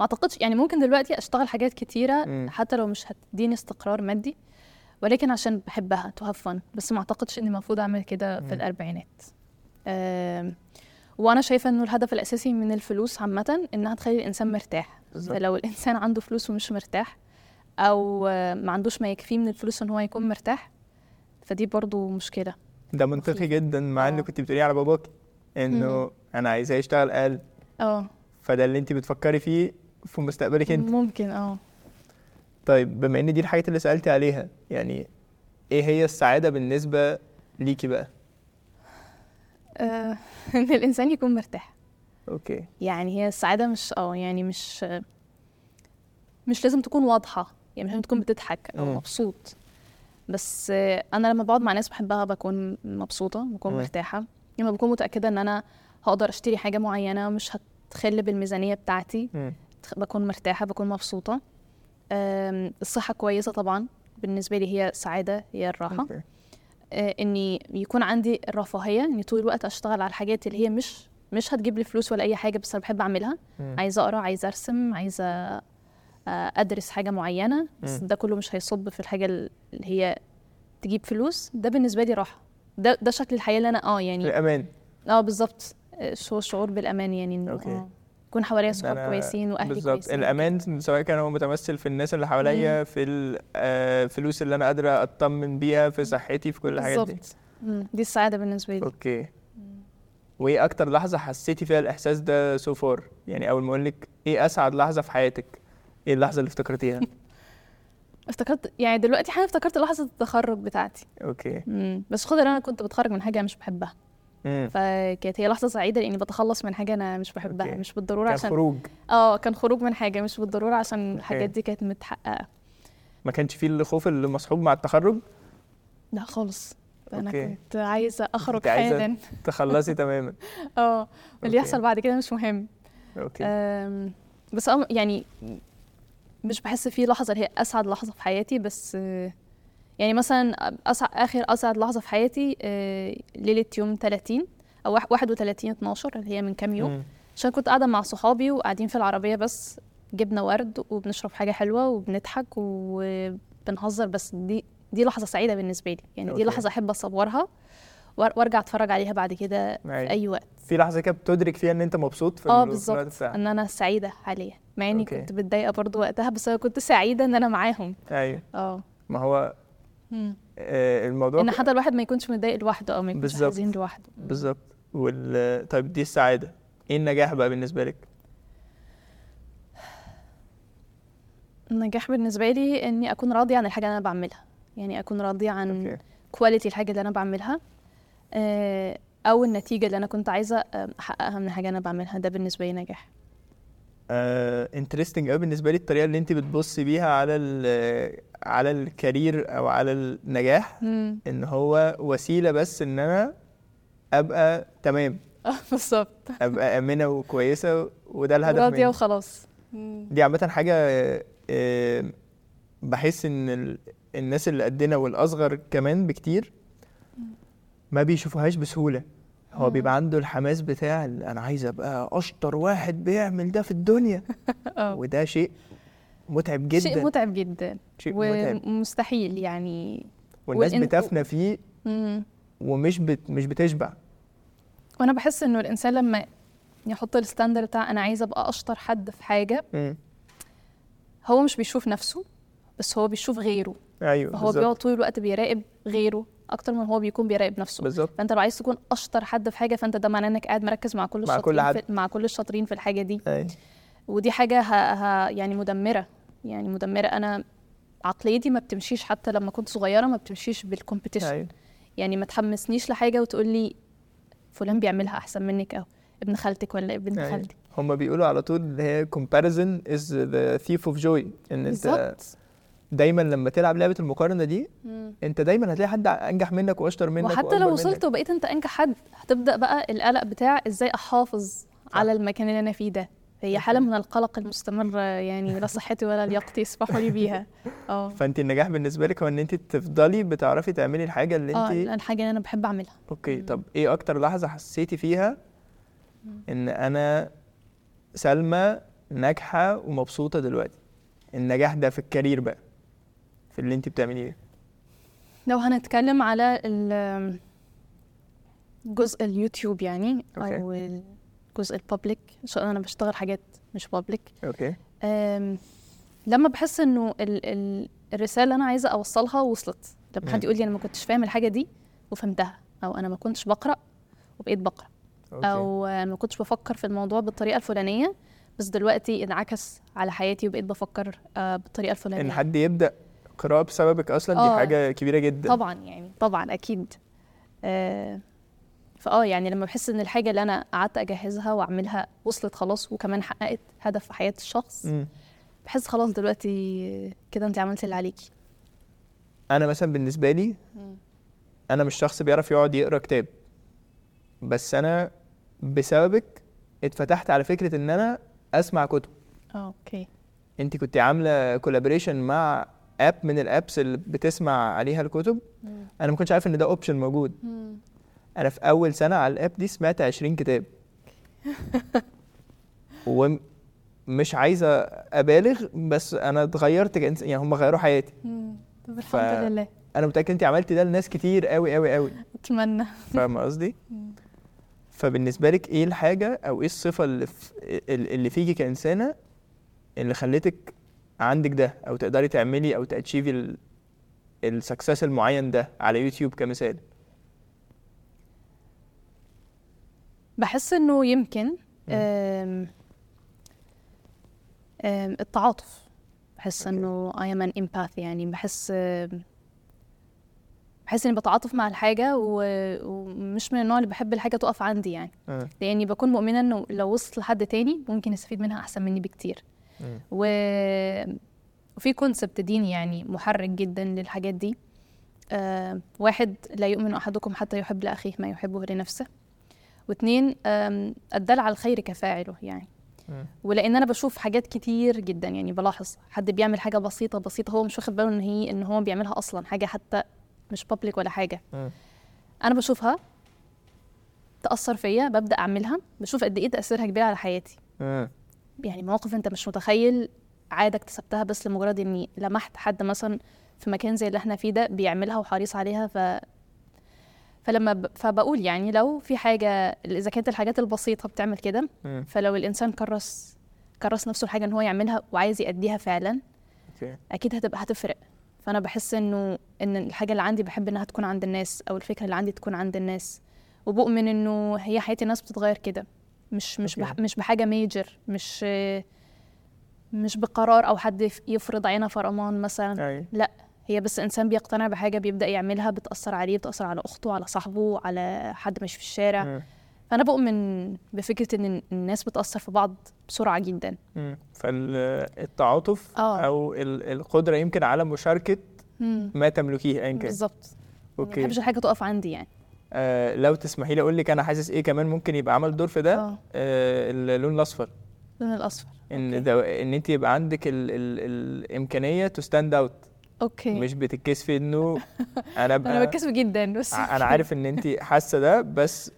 S1: ما اعتقدش يعني ممكن دلوقتي اشتغل حاجات كتيره
S2: مم.
S1: حتى لو مش هتديني استقرار مادي ولكن عشان بحبها تو هاف فن بس ما اعتقدش اني المفروض اعمل كده
S2: مم.
S1: في الاربعينات أم، وانا شايفه انه الهدف الاساسي من الفلوس عامه انها تخلي الانسان مرتاح
S2: بالظبط.
S1: فلو الانسان عنده فلوس ومش مرتاح او آه، ما عندوش ما يكفيه من الفلوس ان هو يكون مرتاح فدي برضو مشكله
S2: ده منطقي
S1: مخيف.
S2: جدا مع اللي
S1: آه.
S2: كنت بتقوليه على باباك انه انا عايزاه يشتغل اقل
S1: اه
S2: فده اللي انت بتفكري فيه في مستقبلك انت
S1: ممكن اه
S2: طيب بما ان دي الحاجات اللي سالتي عليها إيه يعني ايه هي السعاده بالنسبه ليكي بقى
S1: آه، [LAUGHS] ان الانسان يكون مرتاح
S2: اوكي
S1: يعني هي السعاده مش اه يعني مش مش لازم تكون واضحه يعني مش لازم تكون بتضحك او
S2: مم.
S1: مبسوط بس آه، انا لما بقعد مع ناس بحبها بكون مبسوطه بكون
S2: مم.
S1: مرتاحه لما بكون متاكده ان انا هقدر اشتري حاجه معينه مش هتخل بالميزانيه بتاعتي
S2: مم.
S1: بتخ- بكون مرتاحة بكون مبسوطة أم، الصحة كويسة طبعا بالنسبة لي هي سعادة هي الراحة
S2: اوكي
S1: أه، إني يكون عندي الرفاهية إني طول الوقت أشتغل على الحاجات اللي هي مش مش هتجيب لي فلوس ولا أي حاجة بس أنا بحب أعملها
S2: مم.
S1: عايزة أقرأ عايزة أرسم عايزة أه، أدرس حاجة معينة بس
S2: مم.
S1: ده كله مش هيصب في الحاجة اللي هي تجيب فلوس ده بالنسبة لي راحة ده ده شكل الحياة اللي أنا أه يعني
S2: الامان
S1: أه بالظبط أه، هو شعور بالأمان يعني إنه
S2: أوكي.
S1: أه، يكون حواليا صحاب
S2: أنا-
S1: كويسين وأهلي
S2: بالظبط
S1: كويسين
S2: الامان سواء كان هو متمثل في الناس اللي حواليا في الفلوس اللي انا قادره اطمن بيها في صحتي في كل الحاجات دي
S1: بالظبط مم، دي السعاده بالنسبه لي
S2: اوكي وايه اكتر لحظه حسيتي فيها الاحساس ده سو فار يعني اول ما اقول لك ايه اسعد لحظه في حياتك ايه اللحظه اللي
S1: [LAUGHS]
S2: افتكرتيها
S1: افتكرت يعني دلوقتي حالا افتكرت لحظه التخرج بتاعتي
S2: اوكي
S1: مم. بس خد ان انا كنت بتخرج من حاجه أنا مش بحبها
S2: امم
S1: فكانت هي لحظه سعيده لاني بتخلص من حاجه انا مش بحبها
S2: أوكي.
S1: مش بالضروره
S2: كان
S1: عشان
S2: خروج
S1: اه كان خروج من حاجه مش بالضروره عشان
S2: أوكي.
S1: الحاجات دي كانت متحققه
S2: ما كانش فيه الخوف اللي مصحوب مع التخرج
S1: لا خالص ده انا
S2: أوكي.
S1: كنت عايزه اخرج
S2: كنت عايزة-
S1: [LAUGHS] حالا
S2: تخلصي تماما
S1: اه
S2: أوكي.
S1: اللي يحصل بعد كده مش مهم آه،
S2: اوكي
S1: أم، بس أم يعني مش بحس في لحظة اللي هي أسعد لحظة في حياتي بس آه، يعني مثلا أسعد آخر أسعد لحظة في حياتي آه، ليلة يوم 30 أو واحد- 31 12 اللي هي من كام يوم
S2: مم.
S1: عشان كنت قاعدة مع صحابي وقاعدين في العربية بس جبنا ورد وبنشرب حاجة حلوة وبنضحك وبنهزر بس دي دي لحظة سعيدة بالنسبة لي يعني دي
S2: أوكي.
S1: لحظة أحب أصورها وأر- وأرجع أتفرج عليها بعد كده في
S2: أيوة.
S1: أي وقت
S2: في لحظه كده بتدرك فيها ان انت مبسوط في
S1: اه
S2: ال- في الوقت
S1: بالظبط
S2: بتاعك
S1: ان انا سعيده حاليا مع اني
S2: أوكي.
S1: كنت متضايقه برضو وقتها بس انا كنت سعيده ان انا معاهم
S2: ايوه
S1: اه
S2: ما هو
S1: مم.
S2: آه، الموضوع
S1: ان حتى الواحد ما يكونش متضايق لوحده او ما يكونش
S2: بالظبط.
S1: حزين لوحده
S2: بالظبط وال... طيب دي السعاده ايه النجاح بقى بالنسبه لك
S1: النجاح بالنسبه لي اني اكون راضيه عن الحاجه اللي انا بعملها يعني اكون راضيه عن
S2: اوكي
S1: كواليتي الحاجه اللي انا بعملها آه، او النتيجه اللي انا كنت عايزه آه، احققها من الحاجه اللي انا بعملها ده بالنسبه لي نجاح
S2: آه، انترستنج قوي بالنسبه لي الطريقه اللي انت بتبصي بيها على ال... على الكارير او على النجاح
S1: مم. [LAUGHS]
S2: ان هو وسيله بس ان انا ابقى
S1: [LAUGHS]
S2: تمام
S1: اه بالظبط
S2: ابقى امنه وكويسه وده الهدف
S1: راضيه
S2: مني.
S1: وخلاص مم.
S2: دي عامة حاجة آه، بحس إن ال- الناس اللي قدنا والأصغر كمان بكتير ما بيشوفوهاش بسهولة هو
S1: مم.
S2: بيبقى عنده الحماس بتاع ال- أنا عايز أبقى أشطر واحد بيعمل ده في الدنيا
S1: اه
S2: وده شيء متعب جدا
S1: شيء متعب جدا
S2: شيء متعب
S1: ومستحيل يعني
S2: والناس
S1: وإن-
S2: بتفنى فيه
S1: مم.
S2: ومش بت مش بتشبع
S1: وانا بحس انه الانسان لما يحط الستاندر بتاع انا عايز ابقى اشطر حد في حاجه
S2: مم.
S1: هو مش بيشوف نفسه بس هو بيشوف غيره
S2: أيوه
S1: فهو
S2: بالظبط
S1: بيقعد طول الوقت بيراقب غيره اكتر من هو بيكون بيراقب نفسه
S2: بالظبط
S1: فانت لو عايز تكون اشطر حد في حاجه فانت ده معناه انك قاعد مركز مع كل
S2: مع كل
S1: الشاطرين
S2: حد.
S1: في مع كل الشاطرين في الحاجه دي
S2: أيوه
S1: ودي حاجه ها ها يعني مدمره يعني مدمره انا عقليتي ما بتمشيش حتى لما كنت صغيره ما بتمشيش بالكومبيتيشن
S2: أيوه
S1: يعني ما تحمسنيش لحاجه وتقول لي فلان بيعملها احسن منك او ابن خالتك ولا ابن
S2: أيوه.
S1: خالتي
S2: هما بيقولوا على طول اللي هي comparison is the thief of joy إن أنت
S1: بالظبط
S2: دايما لما تلعب لعبه المقارنه دي انت دايما هتلاقي حد انجح منك واشطر منك
S1: وحتى
S2: وأكبر
S1: لو وصلت
S2: منك.
S1: وبقيت انت انجح حد هتبدا بقى القلق بتاع ازاي احافظ على المكان اللي انا فيه ده هي حاله من القلق المستمر يعني لا صحتي ولا لياقتي يسمحوا لي
S2: [LAUGHS]
S1: بيها اه
S2: فانت النجاح بالنسبه لك هو ان انت تفضلي بتعرفي تعملي الحاجه اللي
S1: اه
S2: انت
S1: الحاجه اللي انا بحب اعملها
S2: اوكي طب ايه اكتر لحظه حسيتي فيها ان انا سلمى ناجحه ومبسوطه دلوقتي النجاح ده في الكارير بقى في اللي انت بتعمليه
S1: لو هنتكلم على ال- جزء اليوتيوب يعني
S2: أوكي.
S1: او الجزء البابليك عشان انا بشتغل حاجات مش بابليك
S2: اوكي
S1: أم، لما بحس انه ال ال الرساله اللي انا عايزه اوصلها وصلت لما حد
S2: مم.
S1: يقول لي انا ما كنتش فاهم الحاجه دي وفهمتها او انا ما كنتش بقرا وبقيت بقرا
S2: اوكي
S1: او آه، ما كنتش بفكر في الموضوع بالطريقه الفلانيه بس دلوقتي انعكس على حياتي وبقيت بفكر آه، بالطريقه
S2: ان
S1: الفلانيه
S2: حد يبدا قراءه بسببك اصلا دي
S1: آه.
S2: حاجه كبيره جدا
S1: طبعا يعني طبعا اكيد آه، فاه يعني لما بحس ان الحاجه اللي انا قعدت اجهزها واعملها وصلت خلاص وكمان حققت هدف في حياه الشخص
S2: مم.
S1: بحس خلاص دلوقتي كده انت عملتي اللي عليكي
S2: انا مثلا بالنسبه لي
S1: مم.
S2: انا مش شخص بيعرف يقعد يقرا كتاب بس انا بسببك اتفتحت على فكره ان انا اسمع كتب
S1: اه اوكي
S2: انت كنت عامله كولابريشن مع اب من الابس اللي بتسمع عليها الكتب
S1: مم.
S2: انا ما كنتش عارف ان ده اوبشن موجود
S1: مم.
S2: انا في اول سنه على الاب دي سمعت 20 كتاب ومش عايزه ابالغ بس انا اتغيرت كإنس... يعني هم غيروا حياتي
S1: مم. طب الحمد
S2: ف-
S1: لله
S2: انا متاكد انت عملت ده لناس كتير قوي قوي قوي
S1: اتمنى
S2: فاهمه قصدي
S1: مم.
S2: فبالنسبه لك ايه الحاجه او ايه الصفه اللي في اللي فيكي كانسانه اللي خلتك عندك ده او تقدري تعملي او تاتشيفي السكسس المعين ده على يوتيوب كمثال
S1: بحس انه يمكن أم أم التعاطف بحس
S2: أوكي.
S1: انه I am an empath يعني بحس أم، بحس اني بتعاطف مع الحاجه و- ومش من النوع اللي بحب الحاجه تقف عندي يعني
S2: آه.
S1: لاني بكون مؤمنه انه لو وصلت لحد تاني ممكن يستفيد منها احسن مني بكتير
S2: مم.
S1: و... وفي كونسبت ديني يعني محرك جدا للحاجات دي آه واحد لا يؤمن احدكم حتى يحب لاخيه ما يحبه لنفسه واثنين الدل على الخير كفاعله يعني
S2: مم.
S1: ولان انا بشوف حاجات كتير جدا يعني بلاحظ حد بيعمل حاجه بسيطه بسيطه هو مش واخد باله ان هي ان هو بيعملها اصلا حاجه حتى مش بابليك ولا حاجه
S2: مم.
S1: انا بشوفها تاثر فيا ببدا اعملها بشوف قد ايه تاثيرها كبير على حياتي
S2: آه.
S1: يعني مواقف انت مش متخيل عاده اكتسبتها بس لمجرد اني لمحت حد مثلا في مكان زي اللي احنا فيه ده بيعملها وحريص عليها ف فلما ب... فبقول يعني لو في حاجه اذا كانت الحاجات البسيطه بتعمل كده
S2: مم.
S1: فلو الانسان كرس كرس نفسه الحاجه ان هو يعملها وعايز يأديها فعلا
S2: اوكي
S1: اكيد هتبقى هتفرق فانا بحس انه ان الحاجه اللي عندي بحب انها تكون عند الناس او الفكره اللي عندي تكون عند الناس وبؤمن انه هي حياه الناس بتتغير كده مش مش بح
S2: أوكي.
S1: مش بحاجه ميجر مش مش بقرار او حد يف- يفرض علينا فرمان مثلا
S2: اي
S1: هي بس انسان بيقتنع بحاجه بيبدا يعملها بتاثر عليه بتاثر على اخته على صاحبه على حد ماشي في الشارع
S2: مم.
S1: فانا بؤمن بفكره ان الناس بتاثر في بعض بسرعه جدا
S2: مم. فالتعاطف
S1: آه.
S2: او ال- القدره يمكن على مشاركه
S1: مم.
S2: ما تملكيه ايا كان
S1: بالظبط يعني ما
S2: اوكي
S1: بحبش الحاجه تقف عندي يعني
S2: آه لو تسمحي لي اقول لك انا حاسس ايه كمان ممكن يبقى عمل دور في ده
S1: اه
S2: آه اللون الاصفر
S1: لون الاصفر
S2: ان
S1: أوكي.
S2: دو... ان انت يبقى عندك ال... ال... الامكانيه تو ستاند اوت
S1: اوكي
S2: مش
S1: [LAUGHS]
S2: بتتكسفي انه انا ابقى
S1: انا بتكسف جدا بس
S2: ع- انا عارف ان انت حاسه ده بس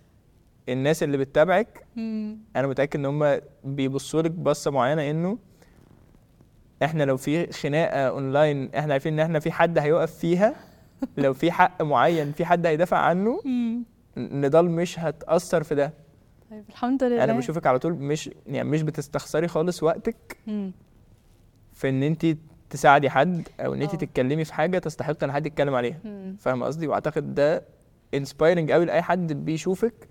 S2: الناس اللي بتتابعك
S1: [LAUGHS] مم.
S2: انا متاكد ان هم بيبصوا لك بصه معينه انه احنا لو في خناقه اونلاين احنا عارفين ان احنا في حد هيقف فيها
S1: [LAUGHS]
S2: لو في حق معين في حد هيدافع عنه
S1: مم.
S2: نضال مش هتاثر في ده
S1: طيب الحمد لله
S2: انا بشوفك على طول مش يعني مش بتستخسري خالص وقتك
S1: مم.
S2: في ان انت تساعدي حد او ان انت
S1: آه.
S2: تتكلمي في حاجه تستحق ان حد يتكلم عليها
S1: مم.
S2: فاهم قصدي واعتقد ده انسبايرنج قوي لاي حد بيشوفك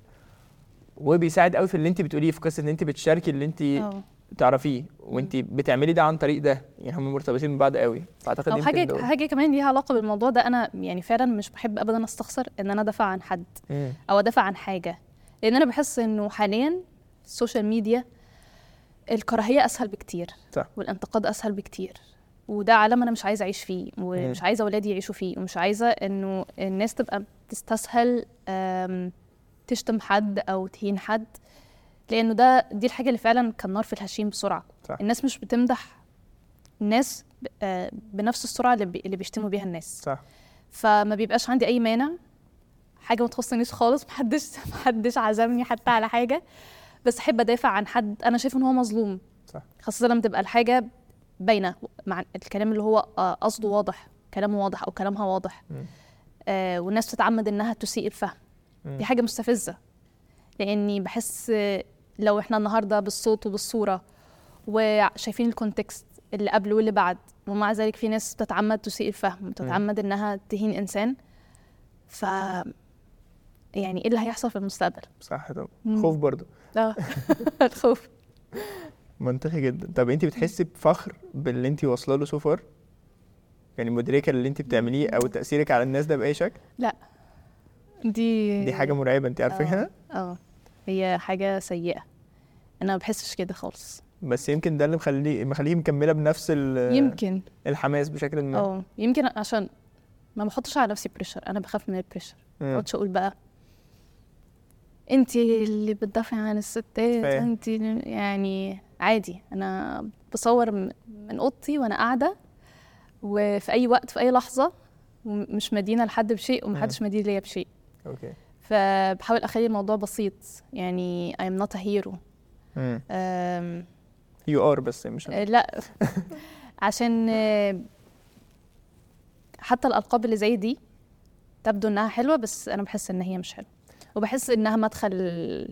S2: وبيساعد قوي في اللي انت بتقوليه في قصه ان انت بتشاركي اللي انت
S1: اه
S2: تعرفيه وانت بتعملي ده عن طريق ده يعني هم مرتبطين ببعض قوي فاعتقد
S1: او
S2: يمكن
S1: حاجه
S2: دول.
S1: حاجه كمان ليها علاقه بالموضوع ده انا يعني فعلا مش بحب ابدا استخسر ان انا ادافع عن حد
S2: مم.
S1: او ادافع عن حاجه لان انا بحس انه حاليا السوشيال ميديا الكراهيه اسهل بكتير
S2: صح.
S1: والانتقاد اسهل بكتير وده عالم انا مش عايزه اعيش فيه ومش عايزه اولادي يعيشوا فيه ومش عايزه انه الناس تبقى تستسهل أم، تشتم حد او تهين حد لانه ده دي الحاجه اللي فعلا كان نار في الهشيم بسرعه
S2: صح.
S1: الناس مش بتمدح الناس ب- آه، بنفس السرعه اللي بي- اللي بيشتموا بيها الناس
S2: صح
S1: فما بيبقاش عندي اي مانع حاجه ما تخصنيش خالص [LAUGHS] محدش محدش عزمني حتى على حاجه بس احب ادافع عن حد انا شايف ان هو مظلوم
S2: صح.
S1: خاصه لما تبقى الحاجه باينه مع الكلام اللي هو آه، قصده واضح كلامه واضح او كلامها واضح
S2: مم.
S1: آه والناس تتعمد انها تسيء الفهم
S2: مم.
S1: دي حاجه مستفزه لاني بحس آه، لو احنا النهارده بالصوت وبالصوره وشايفين الكونتكست اللي قبل واللي بعد ومع ذلك في ناس بتتعمد تسيء الفهم وتتعمد انها تهين انسان ف يعني ايه اللي هيحصل في المستقبل؟
S2: صح طبعا
S1: مم.
S2: خوف برضه
S1: اه [LAUGHS] الخوف
S2: منطقي جدا طب انت بتحسي بفخر باللي انت واصله له سو فار يعني مدركه اللي انت بتعمليه او تاثيرك على الناس ده باي شكل
S1: لا دي
S2: دي حاجه مرعبه انت عارفه
S1: آه.
S2: هنا
S1: اه هي حاجة سيئة انا ما بحسش كده خالص
S2: بس يمكن ده اللي مخليه مخليه مكمله بنفس ال-
S1: يمكن
S2: الحماس بشكل ما
S1: اه يمكن عشان ما بحطش على نفسي بريشر انا بخاف من البريشر ما
S2: مم.
S1: اقعدش اقول بقى انت اللي بتدافعي عن الستات
S2: فاهم.
S1: انت يعني عادي انا بصور م- من اوضتي وانا قاعده وفي اي وقت في اي لحظه ومش مدينه لحد بشيء ومحدش مدين ليا بشيء
S2: اوكي
S1: فبحاول اخلي الموضوع بسيط يعني I am not a hero أم،
S2: يو ار بس مش
S1: آه،
S2: [LAUGHS]
S1: لا عشان آه، حتى الالقاب اللي زي دي تبدو انها حلوه بس انا بحس ان هي مش حلوه وبحس انها مدخل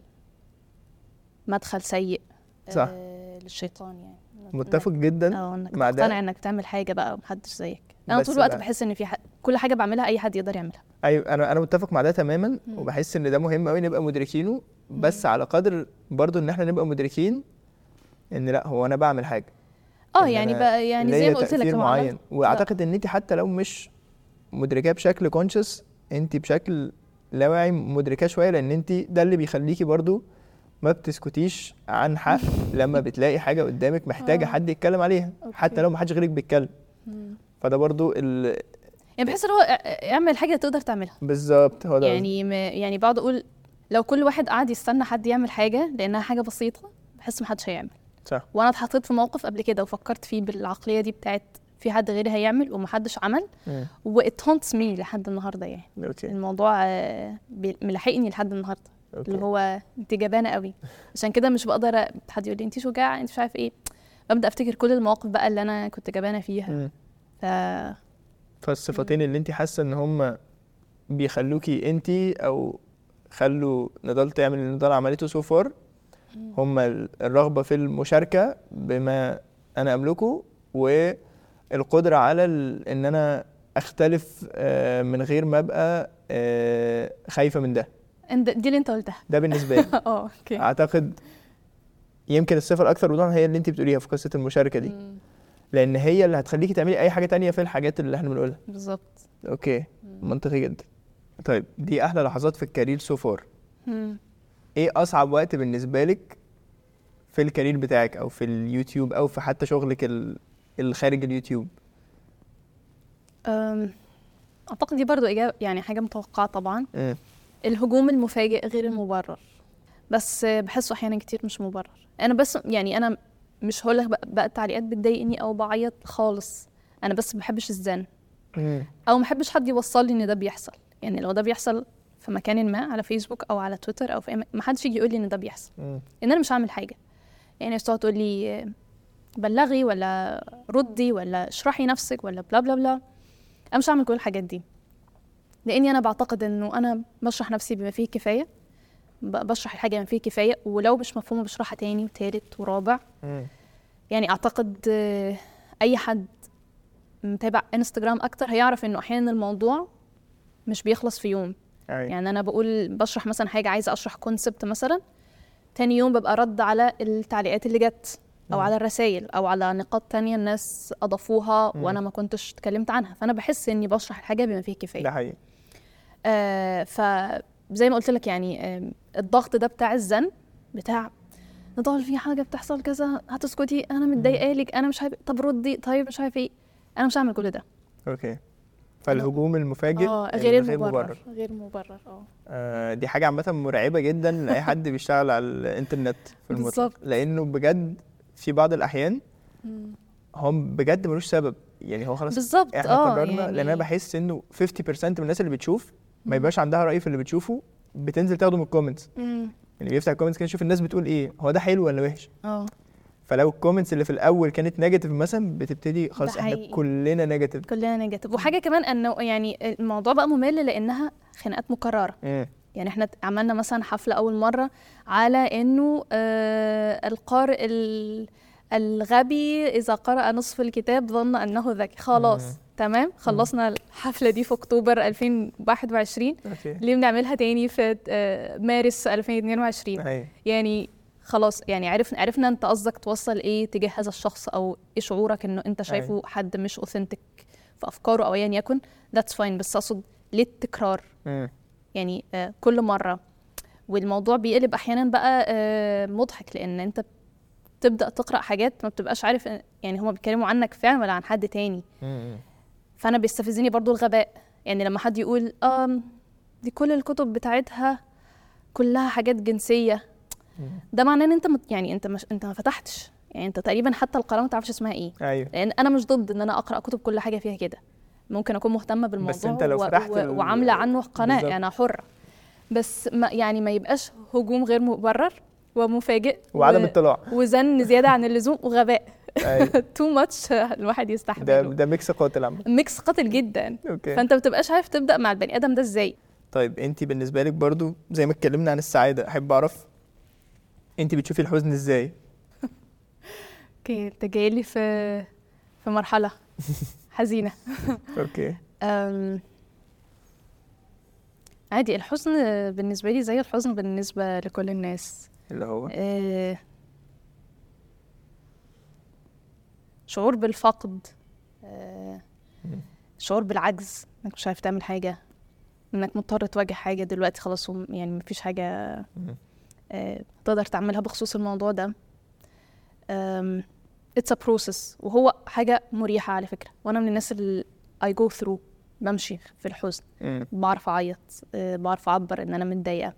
S1: مدخل سيء
S2: صح.
S1: آه، للشيطان يعني
S2: متفق جدا
S1: اه انك
S2: مع ده.
S1: مقتنع انك بتعمل حاجه بقى ومحدش زيك انا
S2: بس
S1: طول الوقت
S2: بقى-
S1: بحس ان في ح... كل حاجه بعملها اي حد يقدر يعملها
S2: ايوه انا انا متفق مع ده تماما وبحس ان ده مهم قوي نبقى مدركينه بس على قدر برضو ان احنا نبقى مدركين ان لا هو انا بعمل حاجه
S1: اه
S2: إن
S1: يعني
S2: أنا
S1: بقى يعني
S2: ليا
S1: زي ما قلت لك
S2: تأثير
S1: لو
S2: معين
S1: عملت-
S2: واعتقد ان انت حتى لو مش مدركاه بشكل كونشس انت بشكل لا واعي مدركاه شويه لان انت ده اللي بيخليكي برضو ما بتسكتيش
S1: [LAUGHS]
S2: عن حق لما بتلاقي حاجه قدامك محتاجه
S1: آه.
S2: حد يتكلم عليها حتى
S1: أوكي.
S2: لو ما حدش غيرك بيتكلم
S1: مم.
S2: فده برضو ال...
S1: يعني بحس ان هو اع- اعمل حاجه تقدر تعملها
S2: بالظبط هو ده قصدي.
S1: يعني ما يعني بقعد اقول لو كل واحد قعد يستنى حد يعمل حاجه لانها حاجه بسيطه بحس محدش هيعمل
S2: صح
S1: وانا اتحطيت في موقف قبل كده وفكرت فيه بالعقليه دي بتاعت في حد غيري هيعمل ومحدش عمل
S2: مم.
S1: وات هونتس مي لحد النهارده يعني
S2: اوكي
S1: الموضوع آه، بي- ملاحقني لحد النهارده اللي
S2: اوكي
S1: هو انت جبانه قوي عشان كده مش بقدر أ- حد يقول لي انت شجاعه انت مش عارف ايه ببدا افتكر كل المواقف بقى اللي انا كنت جبانه فيها
S2: مم.
S1: ف
S2: فالصفتين اللي انت حاسه ان هم بيخلوكي انت او خلوا نضال تعمل اللي نضال عملته سو فار هم الرغبه في المشاركه بما انا املكه والقدره على ال- ان انا اختلف آه، من غير ما ابقى آه، خايفه من ده
S1: إن ده- دي اللي انت قلتها [LAUGHS]
S2: ده بالنسبه لي
S1: اه اوكي
S2: اعتقد يمكن الصفه الاكثر وضوحا هي اللي انت بتقوليها في قصه المشاركه دي
S1: مم،
S2: لان هي اللي هتخليكي تعملي اي حاجه تانية في الحاجات اللي احنا بنقولها
S1: بالظبط
S2: اوكي
S1: مم.
S2: منطقي جدا طيب دي احلى لحظات في الكارير سو فار
S1: مم.
S2: ايه اصعب وقت بالنسبه لك في الكارير بتاعك او في اليوتيوب او في حتى شغلك ال- الخارج اليوتيوب
S1: أم، أعتقد دي برضو إجابة يعني حاجة متوقعة طبعا
S2: مم.
S1: الهجوم المفاجئ غير المبرر بس آه، بحسه أحيانا كتير مش مبرر أنا بس يعني أنا مش هقولك بقى, بقى التعليقات بتضايقني أو بعيط خالص أنا بس ما بحبش الزن
S2: مم.
S1: أو ما بحبش حد يوصل لي إن ده بيحصل يعني لو ده بيحصل في مكان ما على فيسبوك أو على تويتر أو في أي م- ما حدش يجي يقول لي إن ده بيحصل
S2: مم.
S1: ان انا مش هعمل حاجه يعني الناس تقعد تقول لي آه، بلغي ولا ردي ولا اشرحي نفسك ولا بلا بلا بلا انا مش هعمل كل الحاجات دي لاني انا بعتقد انه انا بشرح نفسي بما فيه الكفايه ب- بشرح الحاجه بما فيه الكفايه ولو مش مفهومه بشرحها تاني وتالت ورابع
S2: مم.
S1: يعني اعتقد آه، اي حد متابع انستجرام اكتر هيعرف انه احيانا الموضوع مش بيخلص في يوم
S2: أي.
S1: يعني انا بقول بشرح مثلا حاجه عايزه اشرح كونسبت مثلا تاني يوم ببقى رد على التعليقات اللي جت او
S2: مم.
S1: على الرسائل او على نقاط تانية الناس اضافوها
S2: مم.
S1: وانا ما كنتش اتكلمت عنها فانا بحس اني بشرح الحاجه بما فيه
S2: ده
S1: الكفايه
S2: حقيقي
S1: آه فزي ما قلت لك يعني آه الضغط ده بتاع الزن بتاع نضال في حاجه بتحصل كذا هتسكتي انا متضايقه لك انا مش عارف طب ردي طيب مش عارف ايه انا مش هعمل كل ده
S2: اوكي فالهجوم المفاجئ
S1: اه غير
S2: الغير
S1: المبرر غير مبرر اه
S2: آه دي حاجه عامه مرعبه جدا لاي
S1: [LAUGHS]
S2: حد بيشتغل على الانترنت في المطلق
S1: بالظبط.
S2: لانه بجد في بعض الاحيان
S1: مم.
S2: هم بجد ملوش سبب يعني هو خلاص
S1: بالظبط
S2: احنا
S1: اه
S2: قررنا يعني... لان انا بحس انه 50% من الناس اللي بتشوف ما يبقاش عندها راي في اللي بتشوفه بتنزل تاخده من الكومنتس
S1: مم.
S2: يعني بيفتح الكومنتس كده يشوف الناس بتقول ايه هو ده حلو ولا وحش
S1: اه
S2: فلو الكومنتس اللي في الاول كانت نيجاتيف مثلا بتبتدي خلاص احنا
S1: حقيقي.
S2: كلنا نيجاتيف
S1: كلنا نيجاتيف وحاجه كمان انه يعني الموضوع بقى ممل لانها خناقات مكرره
S2: إيه،
S1: يعني احنا عملنا مثلا حفله اول مره على انه آه القارئ ال- الغبي اذا قرأ نصف الكتاب ظن انه ذكي
S2: مم.
S1: خلاص تمام خلصنا الحفله دي في اكتوبر 2021
S2: اوكي
S1: ليه بنعملها تاني في آه، مارس 2022
S2: ايوه
S1: يعني خلاص يعني عرفنا عرفنا انت قصدك توصل ايه تجاه هذا الشخص او ايه شعورك انه انت شايفه حد مش
S2: إيه،
S1: اوثنتك في افكاره او ايا يكن ذاتس فاين بس اقصد ليه التكرار
S2: مم.
S1: يعني آه، كل مره والموضوع بيقلب احيانا بقى آه، مضحك لان انت بتبدا تقرا حاجات ما بتبقاش عارف إن- يعني هما بيتكلموا عنك فعلا ولا عن حد تاني
S2: مم.
S1: فانا بيستفزني برضو الغباء يعني لما حد يقول اه دي كل الكتب بتاعتها كلها حاجات جنسيه
S2: مم.
S1: ده معناه ان انت مت يعني انت مش انت ما فتحتش يعني انت تقريبا حتى القراءه ما تعرفش اسمها ايه
S2: ايوه
S1: لان انا مش ضد ان انا اقرا كتب كل حاجه فيها كده ممكن اكون مهتمه بالموضوع
S2: أنت لو فتحت ال-
S1: وعامله عنه قناه
S2: بالظبط.
S1: انا حره بس ما يعني ما يبقاش هجوم غير مبرر ومفاجئ
S2: وعدم اطلاع
S1: وزن زياده عن اللزوم وغباء
S2: أيوة.
S1: تو ماتش [LAUGHS] الواحد
S2: [LAUGHS] ده
S1: يستحمله
S2: ده ميكس قاتل عامة
S1: ميكس قاتل جدا
S2: اوكي
S1: فانت ما بتبقاش عارف تبدا مع البني ادم ده ازاي
S2: طيب انت بالنسبه لك برضو زي ما اتكلمنا عن السعاده احب اعرف انت بتشوفي الحزن ازاي
S1: اوكي انت جايلي في في
S2: [LAUGHS]
S1: مرحله حزينه
S2: اوكي
S1: أم، عادي الحزن بالنسبة لي زي الحزن بالنسبة لكل الناس
S2: اللي هو
S1: أه، شعور بالفقد أه،
S2: مم.
S1: شعور بالعجز انك مش عارف تعمل حاجة انك مضطر تواجه حاجة دلوقتي خلاص وم- يعني مفيش حاجة
S2: مم.
S1: آه، تقدر تعملها بخصوص الموضوع ده اتس ا بروسس وهو حاجه مريحه على فكره وانا من الناس اللي اي جو ثرو بمشي في الحزن
S2: مم.
S1: بعرف اعيط آه، بعرف اعبر ان انا متضايقه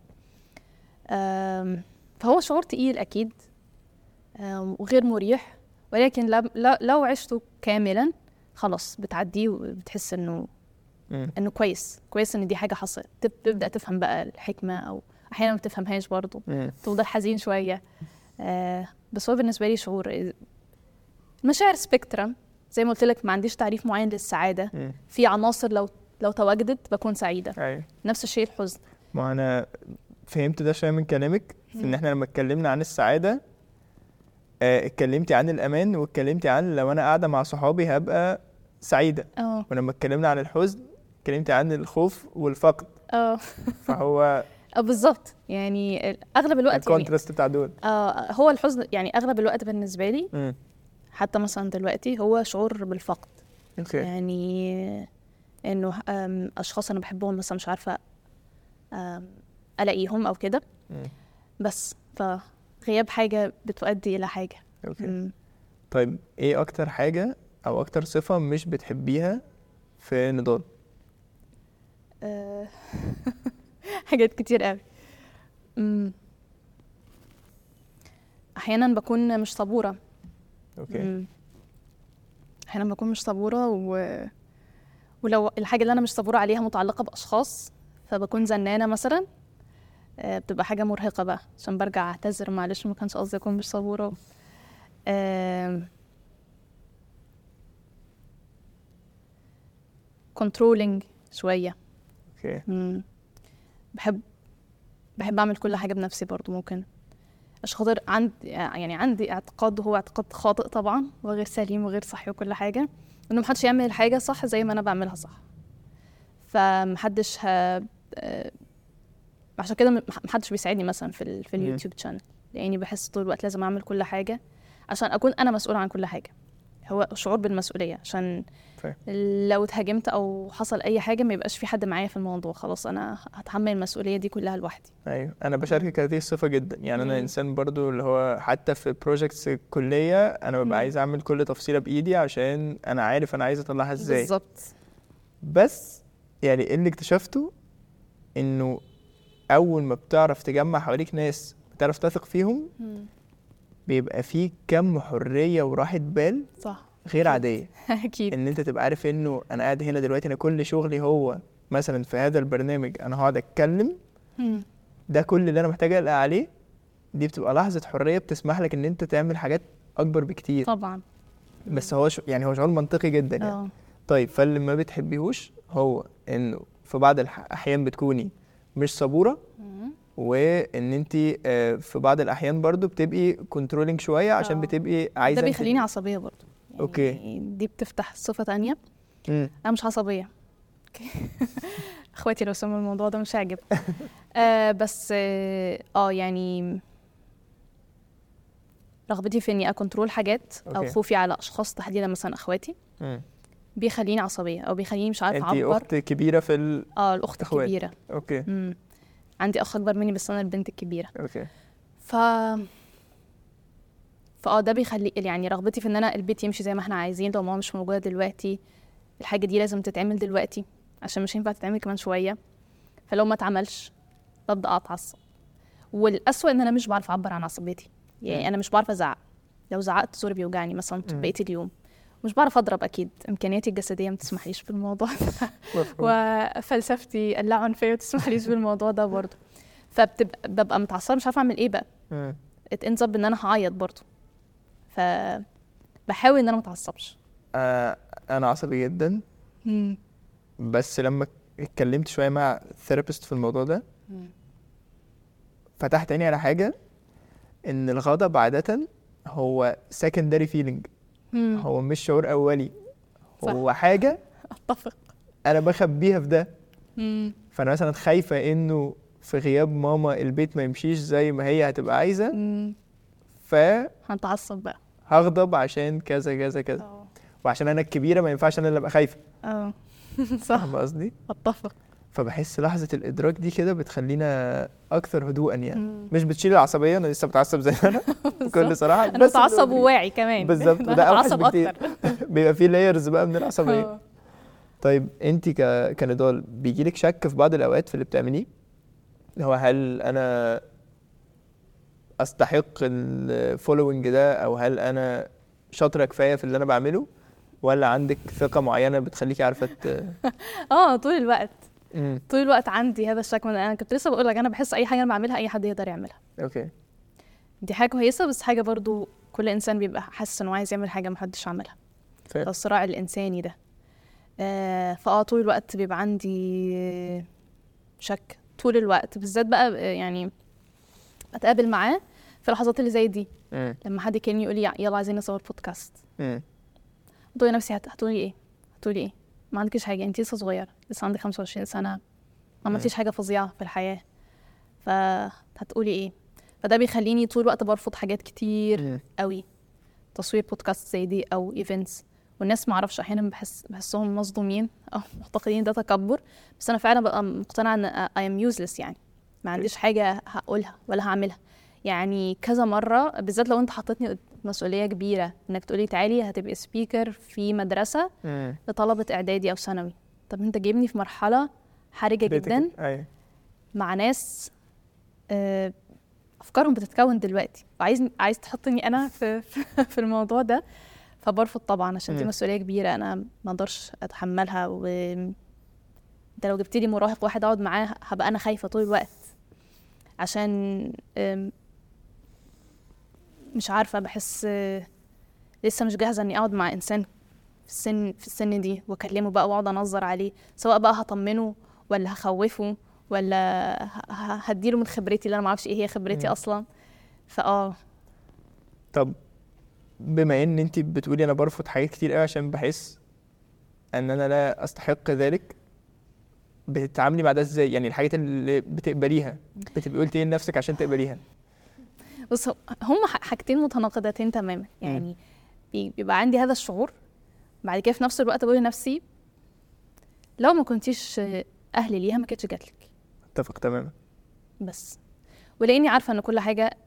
S1: آم، فهو شعور تقيل اكيد آم، وغير مريح ولكن لم- لا- لو عشته كاملا خلاص بتعديه وبتحس انه
S2: مم.
S1: انه كويس كويس ان دي حاجه حصلت تب- تبدا تفهم بقى الحكمه او احيانا ما بتفهمهاش برضه
S2: مم.
S1: تفضل حزين شوية آه بس هو بالنسبة لي شعور المشاعر سبيكترم زي ما قلت لك ما عنديش تعريف معين للسعادة
S2: مم.
S1: في عناصر لو لو تواجدت بكون سعيدة
S2: ايوه
S1: نفس الشيء الحزن
S2: ما انا فهمت ده شويه من كلامك في ان
S1: مم.
S2: احنا لما اتكلمنا عن السعاده آه، اتكلمتي عن الامان واتكلمتي عن لو انا قاعده مع صحابي هبقى سعيده
S1: اه
S2: ولما اتكلمنا عن الحزن اتكلمتي عن الخوف والفقد
S1: اه [LAUGHS]
S2: فهو
S1: آه، بالظبط يعني ال- اغلب الوقت يعني
S2: الكونتراست بتاع دول
S1: آه هو الحزن يعني اغلب الوقت بالنسبة لي
S2: مم.
S1: حتى مثلا دلوقتي هو شعور بالفقد
S2: اوكي
S1: يعني انه آم، اشخاص انا بحبهم مثلا مش عارفة آم، الاقيهم او كده
S2: مم.
S1: بس فغياب حاجة بتؤدي إلى حاجة
S2: اوكي
S1: مم.
S2: طيب ايه اكتر حاجة او اكتر صفة مش بتحبيها في نضال
S1: آه، [LAUGHS] حاجات كتير قوي مم. أحيانا بكون مش صبورة
S2: اوكي
S1: مم. أحيانا بكون مش صبورة و... ولو الحاجة اللي أنا مش صبورة عليها متعلقة بأشخاص فبكون زنانة مثلا آه، بتبقى حاجة مرهقة بقى عشان برجع أعتذر معلش ما كانش قصدي أكون مش صبورة كنترولينج شوية
S2: اوكي
S1: مم. بحب بحب اعمل كل حاجه بنفسي برضو ممكن مش خاطر عندي يعني عندي اعتقاد وهو اعتقاد خاطئ طبعا وغير سليم وغير صحي وكل حاجه انه محدش يعمل الحاجه صح زي ما انا بعملها صح فمحدش ه... آه، عشان كده مح- محدش بيساعدني مثلا في ال... في
S2: مم.
S1: اليوتيوب شانل لاني بحس طول الوقت لازم اعمل كل حاجه عشان اكون انا مسؤوله عن كل حاجه هو شعور بالمسؤوليه عشان
S2: فاهم.
S1: لو اتهاجمت او حصل اي حاجه ما يبقاش في حد معايا في الموضوع خلاص انا هتحمل المسؤوليه دي كلها لوحدي
S2: ايوه انا بشاركك هذه الصفة جدا يعني انا
S1: مم.
S2: انسان برضو اللي هو حتى في بروجكتس الكلية انا
S1: مم.
S2: ببقى عايز اعمل كل تفصيلة بايدي عشان انا عارف انا عايز اطلعها ازاي
S1: بالظبط
S2: بس يعني اللي اكتشفته انه اول ما بتعرف تجمع حواليك ناس بتعرف تثق فيهم
S1: مم.
S2: بيبقى فيه كم حرية وراحة بال
S1: [LAUGHS] صح أكيد.
S2: غير عادية
S1: اكيد
S2: ان انت تبقى عارف انه انا قاعد هنا دلوقتي انا كل شغلي هو مثلا في هذا البرنامج انا هقعد اتكلم
S1: مم.
S2: ده كل اللي انا محتاج اقلق عليه دي بتبقى لحظه حريه بتسمح لك ان انت تعمل حاجات اكبر بكتير
S1: طبعا
S2: بس هو ش... يعني هو شعور منطقي جدا يعني.
S1: اه
S2: طيب فاللي ما بتحبيهوش هو انه في بعض الاحيان بتكوني مش صبوره
S1: مم.
S2: وان انت آه، في بعض الاحيان برضو بتبقي كنترولينج شويه عشان
S1: آه.
S2: بتبقي عايزه
S1: ده
S2: انت-
S1: بيخليني عصبيه برضو يعني
S2: أوكي.
S1: دي بتفتح صفه تانية
S2: مم.
S1: انا مش عصبيه أوكي. [LAUGHS] اخواتي لو سمعوا الموضوع ده مش
S2: [LAUGHS]
S1: هيعجبهم آه بس اه آه، يعني رغبتي في اني اكنترول حاجات او
S2: أوكي.
S1: خوفي على اشخاص تحديدا مثلا اخواتي
S2: مم.
S1: بيخليني عصبيه او بيخليني مش عارفه
S2: انت
S1: اعبر
S2: اخت كبيره في ال...
S1: اه الاخت
S2: إخوات.
S1: الكبيره
S2: اوكي
S1: امم عندي اخ اكبر مني بس انا البنت الكبيره
S2: اوكي
S1: ف فاه ده بيخلي يعني رغبتي في ان انا البيت يمشي زي ما احنا عايزين لو ماما مش موجوده دلوقتي الحاجه دي لازم تتعمل دلوقتي عشان مش هينفع تتعمل كمان شويه فلو ما اتعملش ببدا اتعصب والاسوأ ان انا مش بعرف اعبر عن عصبيتي
S2: مم.
S1: يعني انا مش بعرف ازعق لو زعقت زوري بيوجعني مثلا
S2: مم.
S1: بقيه اليوم مش بعرف اضرب اكيد امكانياتي الجسديه ما تسمحليش في الموضوع ده
S2: مفهوم.
S1: [LAUGHS] وفلسفتي اللاعنفيه ما تسمحليش بالموضوع ده برضه فبتبقى ببقى متعصبه مش عارفه اعمل ايه بقى
S2: مم.
S1: it ends up ان انا هعيط برضه ف بحاول ان انا ما اتعصبش
S2: آه انا عصبي جدا بس لما اتكلمت شويه مع ثيرابيست في الموضوع ده
S1: مم.
S2: فتحت عيني على حاجه ان الغضب عاده هو secondary feeling
S1: مم.
S2: هو مش شعور اولي
S1: صح.
S2: هو حاجه
S1: اتفق
S2: انا بخبيها في ده
S1: مم.
S2: فانا مثلا خايفه انه في غياب ماما البيت ما يمشيش زي ما هي هتبقى عايزه
S1: مم.
S2: فهغضب
S1: هنتعصب بقى
S2: عشان كذا كذا كذا
S1: اه
S2: وعشان انا الكبيره ما ينفعش انا اللي ابقى خايفه
S1: اه [LAUGHS] صح
S2: فاهمه قصدي
S1: اتفق
S2: فبحس لحظه الادراك دي كده بتخلينا اكثر هدوءا يعني
S1: [LAUGHS] مم.
S2: مش بتشيل العصبيه انا لسه بتعصب زي ما انا بكل
S1: بالظبط.
S2: صراحه
S1: انا
S2: بس
S1: بتعصب
S2: اللي هو
S1: وواعي كمان [LAUGHS]
S2: بالظبط،
S1: إن
S2: وده
S1: أنا
S2: أوحش
S1: أتعصب
S2: بكتير.
S1: أكتر.
S2: [LAUGHS] بيبقى فيه لايرز بقى من العصبيه
S1: آه.
S2: طيب انت ك... كنضال بيجيلك شك في بعض الاوقات في اللي بتعمليه اللي هو هل انا استحق الفولوينج ده او هل انا شاطره كفايه في اللي انا بعمله ولا عندك ثقه معينه بتخليكي عارفه ت...
S1: اه طول الوقت
S2: مم.
S1: طول الوقت عندي هذا الشك من انا كنت لسه بقول لك انا بحس اي حاجه انا بعملها اي حد يقدر يعملها
S2: اوكي
S1: دي حاجه كويسه بس حاجه برضو كل انسان بيبقى حاسس انه عايز يعمل حاجه محدش عملها
S2: فاهم
S1: الصراع الإنساني ده آه، فأه طول الوقت بيبقى عندي شك طول الوقت بالذات بقى آه، يعني أتقابل معاه في اللحظات اللي زي دي
S2: مم.
S1: لما حد كان يقول لي يلا عايزين نصور بودكاست
S2: مم.
S1: بقول لنفسي هت- هتقولي ايه هتقولي ايه ما عندكش حاجة انت لسه صغيرة لسه عندك 25 سنة ما عملتيش حاجة فظيعة في الحياة فهتقولي ايه فده بيخليني طول الوقت برفض حاجات كتير
S2: مم.
S1: قوي تصوير بودكاست زي دي او ايفنتس والناس ما اعرفش احيانا بحس بحسهم مصدومين او [LAUGHS] معتقدين ده تكبر بس انا فعلا ببقى مقتنعه ان اي ام يوزلس يعني ما عنديش حاجه هقولها ولا هعملها يعني كذا مره بالذات لو انت حطيتني قد مسؤوليه كبيره انك تقولي تعالي هتبقي سبيكر في مدرسه
S2: مم.
S1: لطلبه اعدادي او ثانوي طب انت جايبني في مرحله حرجه
S2: بيتك-
S1: جدا
S2: ايوه
S1: مع ناس آه، افكارهم بتتكون دلوقتي وعايز عايز تحطني انا في في الموضوع ده فبرفض طبعا عشان دي
S2: مم.
S1: مسؤوليه كبيره انا ما اقدرش اتحملها و انت لو جبت لي مراهق واحد اقعد معاه هبقى انا خايفه طول الوقت عشان آم، مش عارفه بحس آه، لسه مش جاهزه اني اقعد مع انسان في السن في السن دي واكلمه بقى واقعد انظر عليه سواء بقى هطمنه ولا هخوفه ولا ه- ه- هديله من خبرتي اللي انا ما اعرفش ايه هي خبرتي
S2: مم.
S1: اصلا فاه
S2: طب بما ان انت بتقولي انا برفض حاجات كتير قوي عشان بحس ان انا لا استحق ذلك بتتعاملي مع ده ازاي يعني الحاجات اللي بتقبليها بتبقي قلتي ايه لنفسك عشان تقبليها
S1: بص هو- هما ح- حاجتين متناقضتين تماما يعني بي- بيبقى عندي هذا الشعور بعد كده في نفس الوقت بقول لنفسي لو ما كنتيش اهلي ليها ما كانتش جاتلك
S2: اتفق تماما
S1: بس ولاني عارفه ان كل حاجه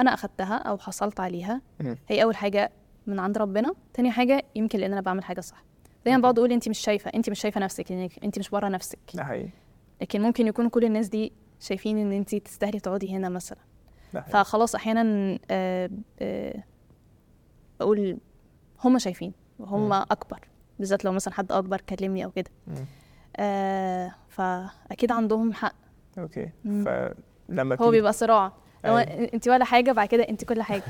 S1: انا اخدتها او حصلت عليها
S2: مم.
S1: هي اول حاجه من عند ربنا تاني حاجه يمكن لان انا بعمل حاجه صح دايما
S2: مم.
S1: بقعد اقول انت مش شايفه انت مش شايفه نفسك لانك انت مش بره نفسك
S2: ده حقيقي
S1: لكن ممكن يكون كل الناس دي شايفين ان انت تستاهلي تقعدي هنا مثلا
S2: ده حقيقي
S1: فخلاص احيانا آه، آه، بقول هم شايفين وهم
S2: مم.
S1: اكبر بالذات لو مثلا حد اكبر كلمني او كده
S2: مم.
S1: آه، فاكيد عندهم حق
S2: اوكي
S1: مم.
S2: فلما
S1: هو
S2: بتيجي-
S1: بيبقى صراع لو
S2: أيوة.
S1: انت ولا حاجه بعد كده انت كل [LAUGHS] حاجه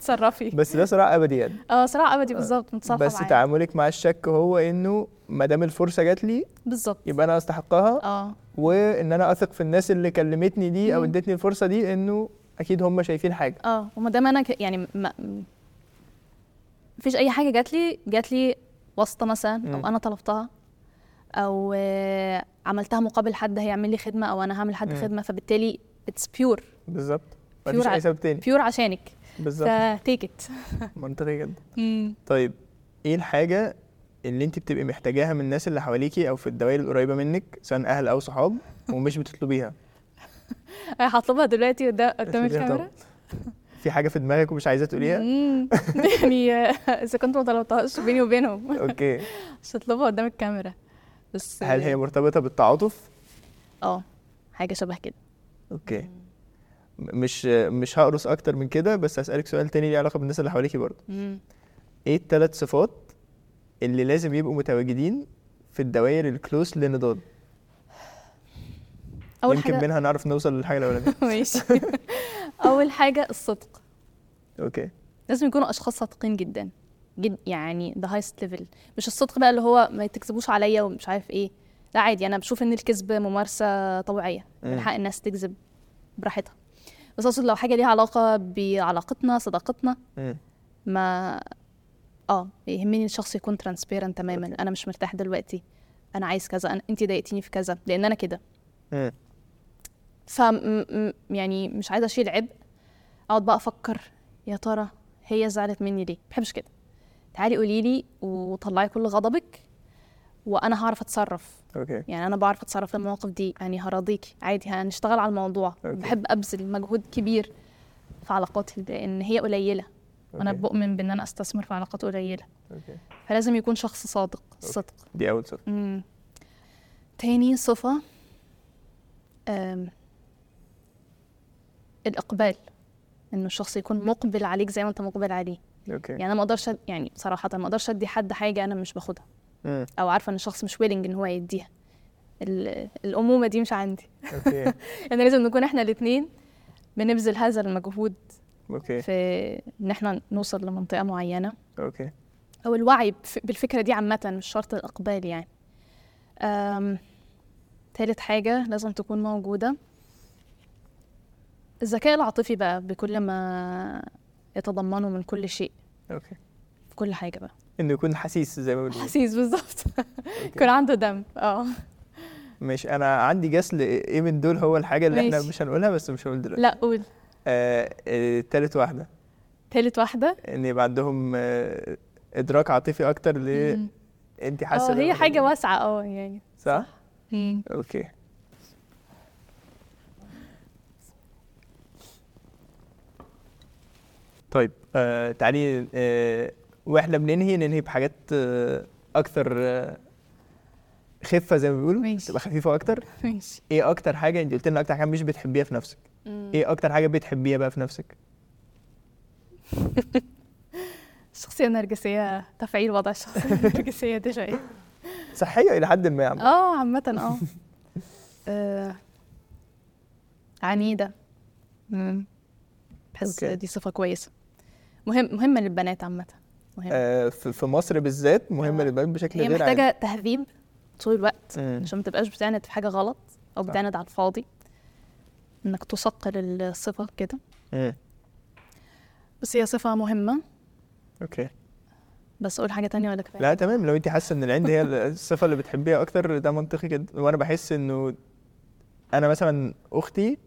S1: تصرفي
S2: بس ده صراع ابدي يعني
S1: اه صراع ابدي
S2: آه،
S1: بالظبط متصافحه
S2: بس
S1: معاه.
S2: تعاملك مع الشك هو انه ما دام الفرصه جات لي
S1: بالظبط
S2: يبقى انا استحقها
S1: اه
S2: وان انا اثق في الناس اللي كلمتني دي او
S1: مم.
S2: ادتني الفرصه دي انه اكيد هم شايفين حاجه
S1: اه وما دام انا ك... يعني ما م- مفيش اي حاجه جات لي جات لي واسطه مثلا
S2: مم.
S1: او انا طلبتها او آه، عملتها مقابل حد هيعمل لي خدمه او انا هعمل حد
S2: مم.
S1: خدمه فبالتالي اتس بيور
S2: بالظبط مفيش
S1: ع-
S2: اي سبب تاني
S1: بيور عشانك
S2: بالظبط
S1: فتيك ات
S2: منطقي جدا طيب ايه إيه الحاجة اللي انت بتبقي محتاجاها من الناس اللي حواليكي او في الدوائر القريبه منك سواء اهل او صحاب ومش بتطلبيها
S1: أنا آه، هطلبها دلوقتي قدا- قدام
S2: بتطلبيها طبعاً.
S1: الكاميرا
S2: [LAUGHS] في حاجه في دماغك ومش عايزه تقوليها
S1: [LAUGHS] مم. يعني آه، اذا كنت ما طلبتهاش بيني وبينهم
S2: اوكي
S1: مش هطلبها قدام الكاميرا بس
S2: هل هي مرتبطه بالتعاطف
S1: اه حاجه شبه كده
S2: اوكي م- مش مش هقرص اكتر من كده بس هسالك سؤال تاني ليه علاقه بالناس اللي حواليكي برضه
S1: مم.
S2: ايه الثلاث صفات اللي لازم يبقوا متواجدين في الدوائر الكلوز لنضال
S1: اول
S2: يمكن
S1: حاجه
S2: منها نعرف نوصل للحاجه الاولانيه
S1: [LAUGHS] ماشي اول حاجه الصدق
S2: اوكي
S1: لازم يكونوا اشخاص صادقين جدا جد يعني ذا هايست ليفل مش الصدق بقى اللي هو ما تكذبوش عليا ومش عارف ايه لا عادي انا بشوف ان الكذب ممارسه طبيعيه
S2: مم.
S1: من حق الناس تكذب براحتها بس اقصد لو حاجه ليها علاقه بعلاقتنا صداقتنا
S2: مم.
S1: ما اه يهمني الشخص يكون ترانسبيرنت تماما انا مش مرتاح دلوقتي انا عايز كذا أنا... انت ضايقتيني في كذا لان انا كده
S2: مم.
S1: ف م- م- يعني مش عايزه اشيل عبء اقعد بقى افكر يا ترى هي زعلت مني ليه ما بحبش كده تعالي قولي لي وطلعي كل غضبك وانا هعرف اتصرف [LAUGHS]
S2: اوكي
S1: يعني انا بعرف اتصرف في المواقف دي يعني هرضيكي عادي هنشتغل على الموضوع
S2: أوكي.
S1: بحب ابذل مجهود كبير في علاقاتي لان هي قليله وانا
S2: أوكي.
S1: بؤمن بان انا استثمر في علاقات قليله
S2: اوكي
S1: فلازم يكون شخص صادق صدق
S2: دي اول صفه
S1: مم. تاني صفة أم. الإقبال إنه الشخص يكون مقبل عليك زي ما أنت مقبل عليه
S2: اوكي
S1: يعني أنا ما أقدرش أد- يعني صراحة ما أقدرش أدي حد حاجة أنا مش باخدها
S2: مم.
S1: أو عارفة إن الشخص مش ويلنج إن هو يديها ال- الأمومة دي مش عندي [LAUGHS]
S2: اوكي
S1: يعني لازم نكون إحنا الاتنين بنبذل هذا المجهود
S2: اوكي
S1: في إن إحنا نوصل لمنطقة معينة
S2: اوكي
S1: او الوعي بف- بالفكره دي عامه مش شرط الاقبال يعني أم، تالت حاجه لازم تكون موجوده الذكاء العاطفي بقى بكل ما يتضمنه من كل شيء
S2: اوكي
S1: في كل حاجه بقى
S2: انه يكون حسيس زي ما بنقول
S1: حسيس بالظبط يكون عنده دم اه
S2: مش انا عندي جس لايه من دول هو الحاجه اللي احنا
S1: ماشي.
S2: مش هنقولها بس مش هقول دلوقتي
S1: لا قول
S2: آه آه، تالت واحده
S1: تالت واحده
S2: ان يبقى عندهم آه ادراك عاطفي اكتر ل
S1: مم.
S2: انت حاسه
S1: اه
S2: بالأمر
S1: هي حاجه
S2: ده.
S1: واسعه اه يعني
S2: صح
S1: مم.
S2: اوكي طيب آه تعالي آه واحنا بننهي ننهي بحاجات آه اكثر آه خفه زي ما بيقولوا
S1: ماشي.
S2: تبقى خفيفه اكتر
S1: ماشي
S2: ايه اكتر حاجه انت قلت لنا اكتر حاجه مش بتحبيها في نفسك
S1: مم.
S2: ايه اكتر حاجه بتحبيها بقى في نفسك
S1: الشخصيه النرجسيه تفعيل وضع الشخصيه النرجسيه ده شويه
S2: صحيه الى حد ما يا عم.
S1: اه عامة
S2: [LAUGHS]
S1: اه آه، عنيدة مم. بحس
S2: أوكي.
S1: دي صفة كويسة مهم مهمة للبنات عامة مهمة
S2: آه في في مصر بالذات مهمه
S1: آه.
S2: للبنات بشكل
S1: هي
S2: غير عادي
S1: محتاجة تهذيب طول الوقت
S2: مم.
S1: عشان ما تبقاش بتعند في حاجة غلط أو
S2: صح.
S1: بتعند على الفاضي إنك تثقل الصفة كده
S2: مم.
S1: بس هي صفة مهمة
S2: اوكي
S1: بس أقول حاجة تانية ولا كفاية؟
S2: لا تمام لو انت حاسه ان
S1: [LAUGHS]
S2: العند هي الصفه اللي بتحبيها اكتر ده منطقي جدا وانا بحس انه انا مثلا اختي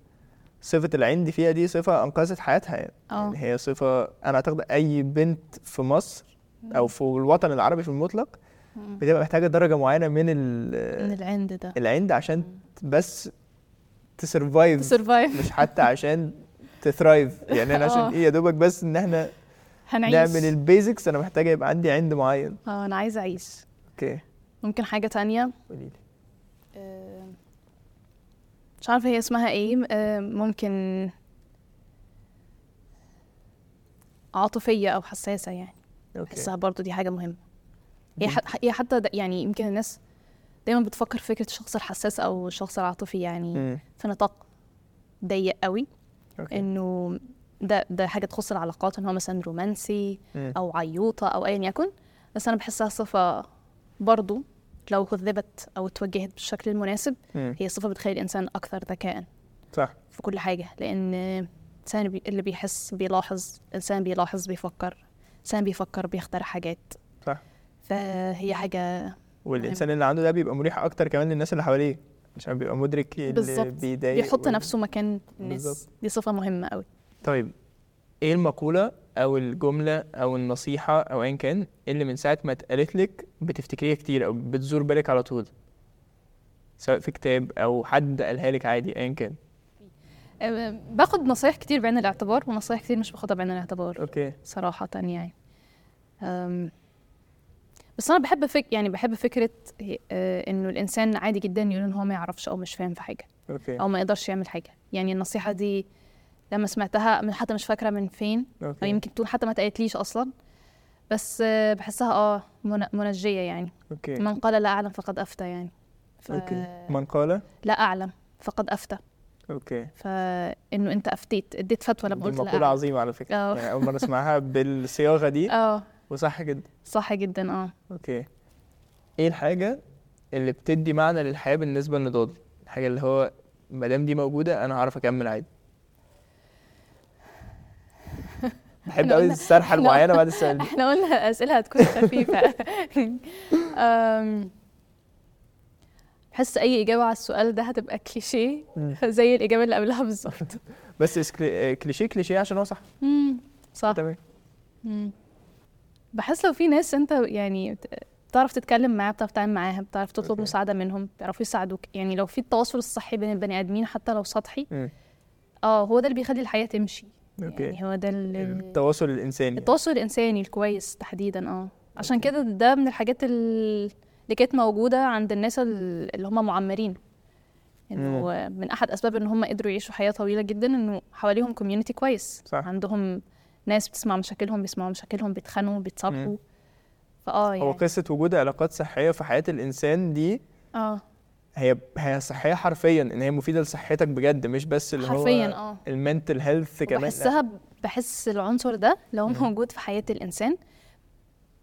S2: صفه العند فيها دي صفه انقذت حياتها يعني,
S1: آه.
S2: يعني هي صفه انا اعتقد اي بنت في مصر او في الوطن العربي في المطلق
S1: مم.
S2: بتبقى محتاجه درجه معينه من ال-
S1: من العند ده
S2: العند عشان بس تسرفايف
S1: سرفايف
S2: مش حتى عشان تثرايف يعني انا عشان
S1: [LAUGHS] آه.
S2: ايه يا دوبك بس ان احنا
S1: هنعيش
S2: نعمل البيزكس انا محتاجه يبقى عندي عند معين
S1: اه أنا عايزة أعيش
S2: اوكي
S1: ممكن حاجة تانية
S2: قولي لي
S1: آم، مش عارفة هي اسمها ايه آم، ممكن عاطفية أو حساسة يعني بحسها برضو دي حاجة مهمة هي
S2: مم.
S1: ح- هي حتى د- يعني يمكن الناس دايما بتفكر في فكرة الشخص الحساس أو الشخص العاطفي يعني
S2: مم.
S1: في نطاق ضيق قوي
S2: اوكي
S1: إنه ده ده حاجة تخص العلاقات إن هو مثلا رومانسي
S2: مم.
S1: أو عيوطة أو أيا يكن بس أنا بحسها صفة برضو لو كذبت أو اتوجهت بالشكل المناسب
S2: مم.
S1: هي صفة بتخلي الإنسان أكثر ذكاء
S2: صح
S1: في كل حاجة لأن الإنسان بي- اللي بيحس بيلاحظ الإنسان بيلاحظ بيفكر الإنسان بيفكر بيخترع حاجات
S2: صح.
S1: فهي حاجة
S2: والانسان اللي عنده ده بيبقى مريح اكتر كمان للناس اللي حواليه عشان بيبقى مدرك إيه اللي
S1: بالظبط
S2: بيضايق
S1: بيحط
S2: وال-
S1: نفسه مكان الناس
S2: بالظبط.
S1: دي صفة مهمة أوي
S2: طيب ايه المقوله او الجمله او النصيحه او ايا كان اللي من ساعه ما اتقالت لك بتفتكريها كتير او بتزور بالك على طول سواء في كتاب او حد قالها لك عادي ايا كان
S1: آه، باخد نصايح كتير بعين الاعتبار ونصايح كتير مش باخدها بعين الاعتبار
S2: اوكي
S1: صراحة يعني أم، بس أنا بحب فك يعني بحب فكرة آه، إنه الإنسان عادي جدا يقول إن هو ما يعرفش أو مش فاهم في حاجة
S2: اوكي
S1: أو ما يقدرش يعمل حاجة يعني النصيحة دي لما سمعتها من حتى مش فاكرة من فين أو
S2: اوكي
S1: يمكن تكون حتى ما اتقالتليش أصلا بس آه، بحسها آه من- منجية يعني
S2: اوكي
S1: من قال لا أعلم فقد أفتى يعني ف...
S2: اوكي من قال
S1: لا أعلم فقد أفتى
S2: اوكي
S1: فإنه أنت أفتيت اديت فتوى لما
S2: دي
S1: قلت لا
S2: مقولة
S1: أعلم.
S2: عظيمة على فكرة
S1: آه.
S2: يعني أول مرة أسمعها بالصياغة [LAUGHS] دي
S1: آه
S2: وصح جدا
S1: صح جدا آه
S2: أوكي إيه الحاجة اللي بتدي معنى للحياة بالنسبة لنضال؟ الحاجة اللي هو مادام دي موجودة أنا هعرف
S1: [LAUGHS]
S2: أكمل عادي بحب
S1: إحنا
S2: أوي
S1: قلنا-
S2: السرحة
S1: إحنا-
S2: المعينة بعد
S1: [LAUGHS]
S2: السؤال دي
S1: احنا قلنا الاسئله هتكون [LAUGHS] خفيفه أم، بحس اي اجابه على السؤال ده هتبقى كليشيه
S2: مم.
S1: زي الاجابه اللي قبلها بالظبط
S2: بس مش كلي- آه، كليشيه كليشيه عشان هو صح
S1: مم، صح
S2: تمام
S1: مم. بحس لو في ناس انت يعني بت- بتعرف تتكلم معاها بتعرف تتعامل معاها بتعرف تطلب
S2: أوكي.
S1: مساعده منهم بيعرفوا يساعدوك يعني لو في التواصل الصحي بين البني ادمين حتى لو سطحي
S2: مم.
S1: اه هو ده اللي بيخلي الحياه تمشي
S2: أوكي
S1: يعني هو ده اللي
S2: التواصل الإنساني
S1: التواصل الانساني الكويس تحديدا اه عشان كده ده من الحاجات ال- اللي كانت موجوده عند الناس ال- اللي هم معمرين انه من احد اسباب ان هم قدروا يعيشوا حياه طويله جدا انه حواليهم كوميونتي كويس
S2: صح.
S1: عندهم ناس بتسمع مشاكلهم بيسمعوا مشاكلهم بيتخانقوا بيتصالحوا
S2: مم.
S1: فاه
S2: هو
S1: يعني
S2: قصة وجود علاقات صحية في حياة الإنسان دي
S1: اه
S2: هي هي صحيه حرفيا ان هي مفيده لصحتك بجد مش بس اللي
S1: حرفيا
S2: هو
S1: اه
S2: المنتل هيلث كمان لا.
S1: بحسها بحس العنصر ده لو
S2: مم.
S1: موجود في حياه الانسان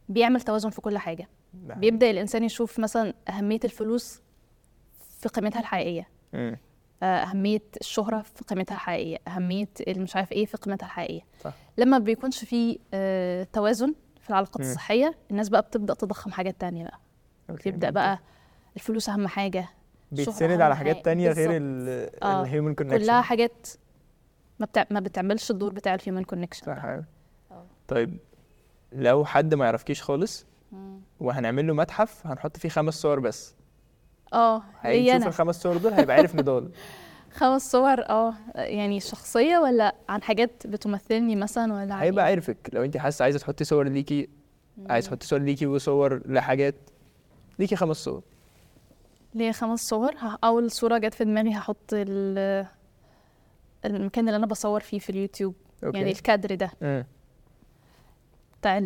S1: بيعمل توازن في كل حاجه
S2: لا.
S1: بيبدا الانسان يشوف مثلا اهميه الفلوس في قيمتها الحقيقيه
S2: مم.
S1: آه، أهمية الشهرة في قيمتها الحقيقية أهمية المش عارف إيه في قيمتها الحقيقية
S2: صح.
S1: لما بيكونش في آه، توازن في العلاقات
S2: مم.
S1: الصحية الناس بقى بتبدأ تضخم حاجات تانية بقى
S2: أوكي.
S1: تبدأ بقى الفلوس أهم حاجة
S2: بيتسند
S1: أهم
S2: على
S1: حاجة.
S2: حاجات تانية غير
S1: بالظبط. آه.
S2: الهيومن كونكشن
S1: كلها حاجات ما, بتع... ما بتعملش الدور بتاع الهيومن كونكشن
S2: صح أوي.
S1: آه.
S2: طيب لو حد ما يعرفكيش خالص وهنعمل له متحف هنحط فيه خمس صور بس
S1: اه ليا
S2: هيشوف
S1: انا
S2: الخمس صور دول هيبقى عارف
S1: [LAUGHS]
S2: نضال
S1: خمس صور اه يعني شخصيه ولا عن حاجات بتمثلني مثلا ولا عن
S2: هيبقى
S1: إيه؟
S2: عارفك لو انت حاسه عايزه تحطي صور ليكي عايز تحطي صور ليكي وصور لحاجات ليكي خمس صور
S1: ليا خمس صور ه- أول صورة جت في دماغي هحط ال- المكان اللي أنا بصور فيه في اليوتيوب
S2: اوكي
S1: يعني الكادر ده
S2: مم.
S1: بتاع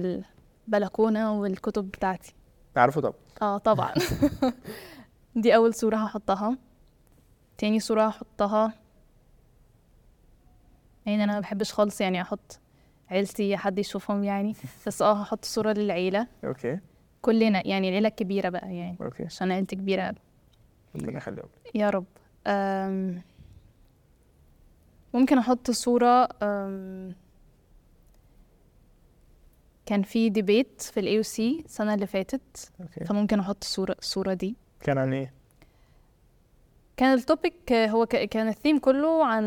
S1: البلكونة والكتب بتاعتي
S2: عارفه طب
S1: اه طبعا دي أول صورة هحطها تاني صورة هحطها يعني أنا ما بحبش خالص يعني أحط عيلتي حد يشوفهم يعني بس اه هحط صورة للعيلة
S2: اوكي
S1: كلنا يعني العيلة الكبيرة بقى يعني
S2: اوكي
S1: عشان عيلتي كبيرة
S2: ربنا يخليهم
S1: يا رب أم، ممكن احط صورة أم، كان في ديبيت في الاي او سي السنة اللي فاتت
S2: اوكي
S1: فممكن احط صورة الصورة دي
S2: كان عن ايه؟
S1: كان التوبيك هو ك- كان الثيم كله عن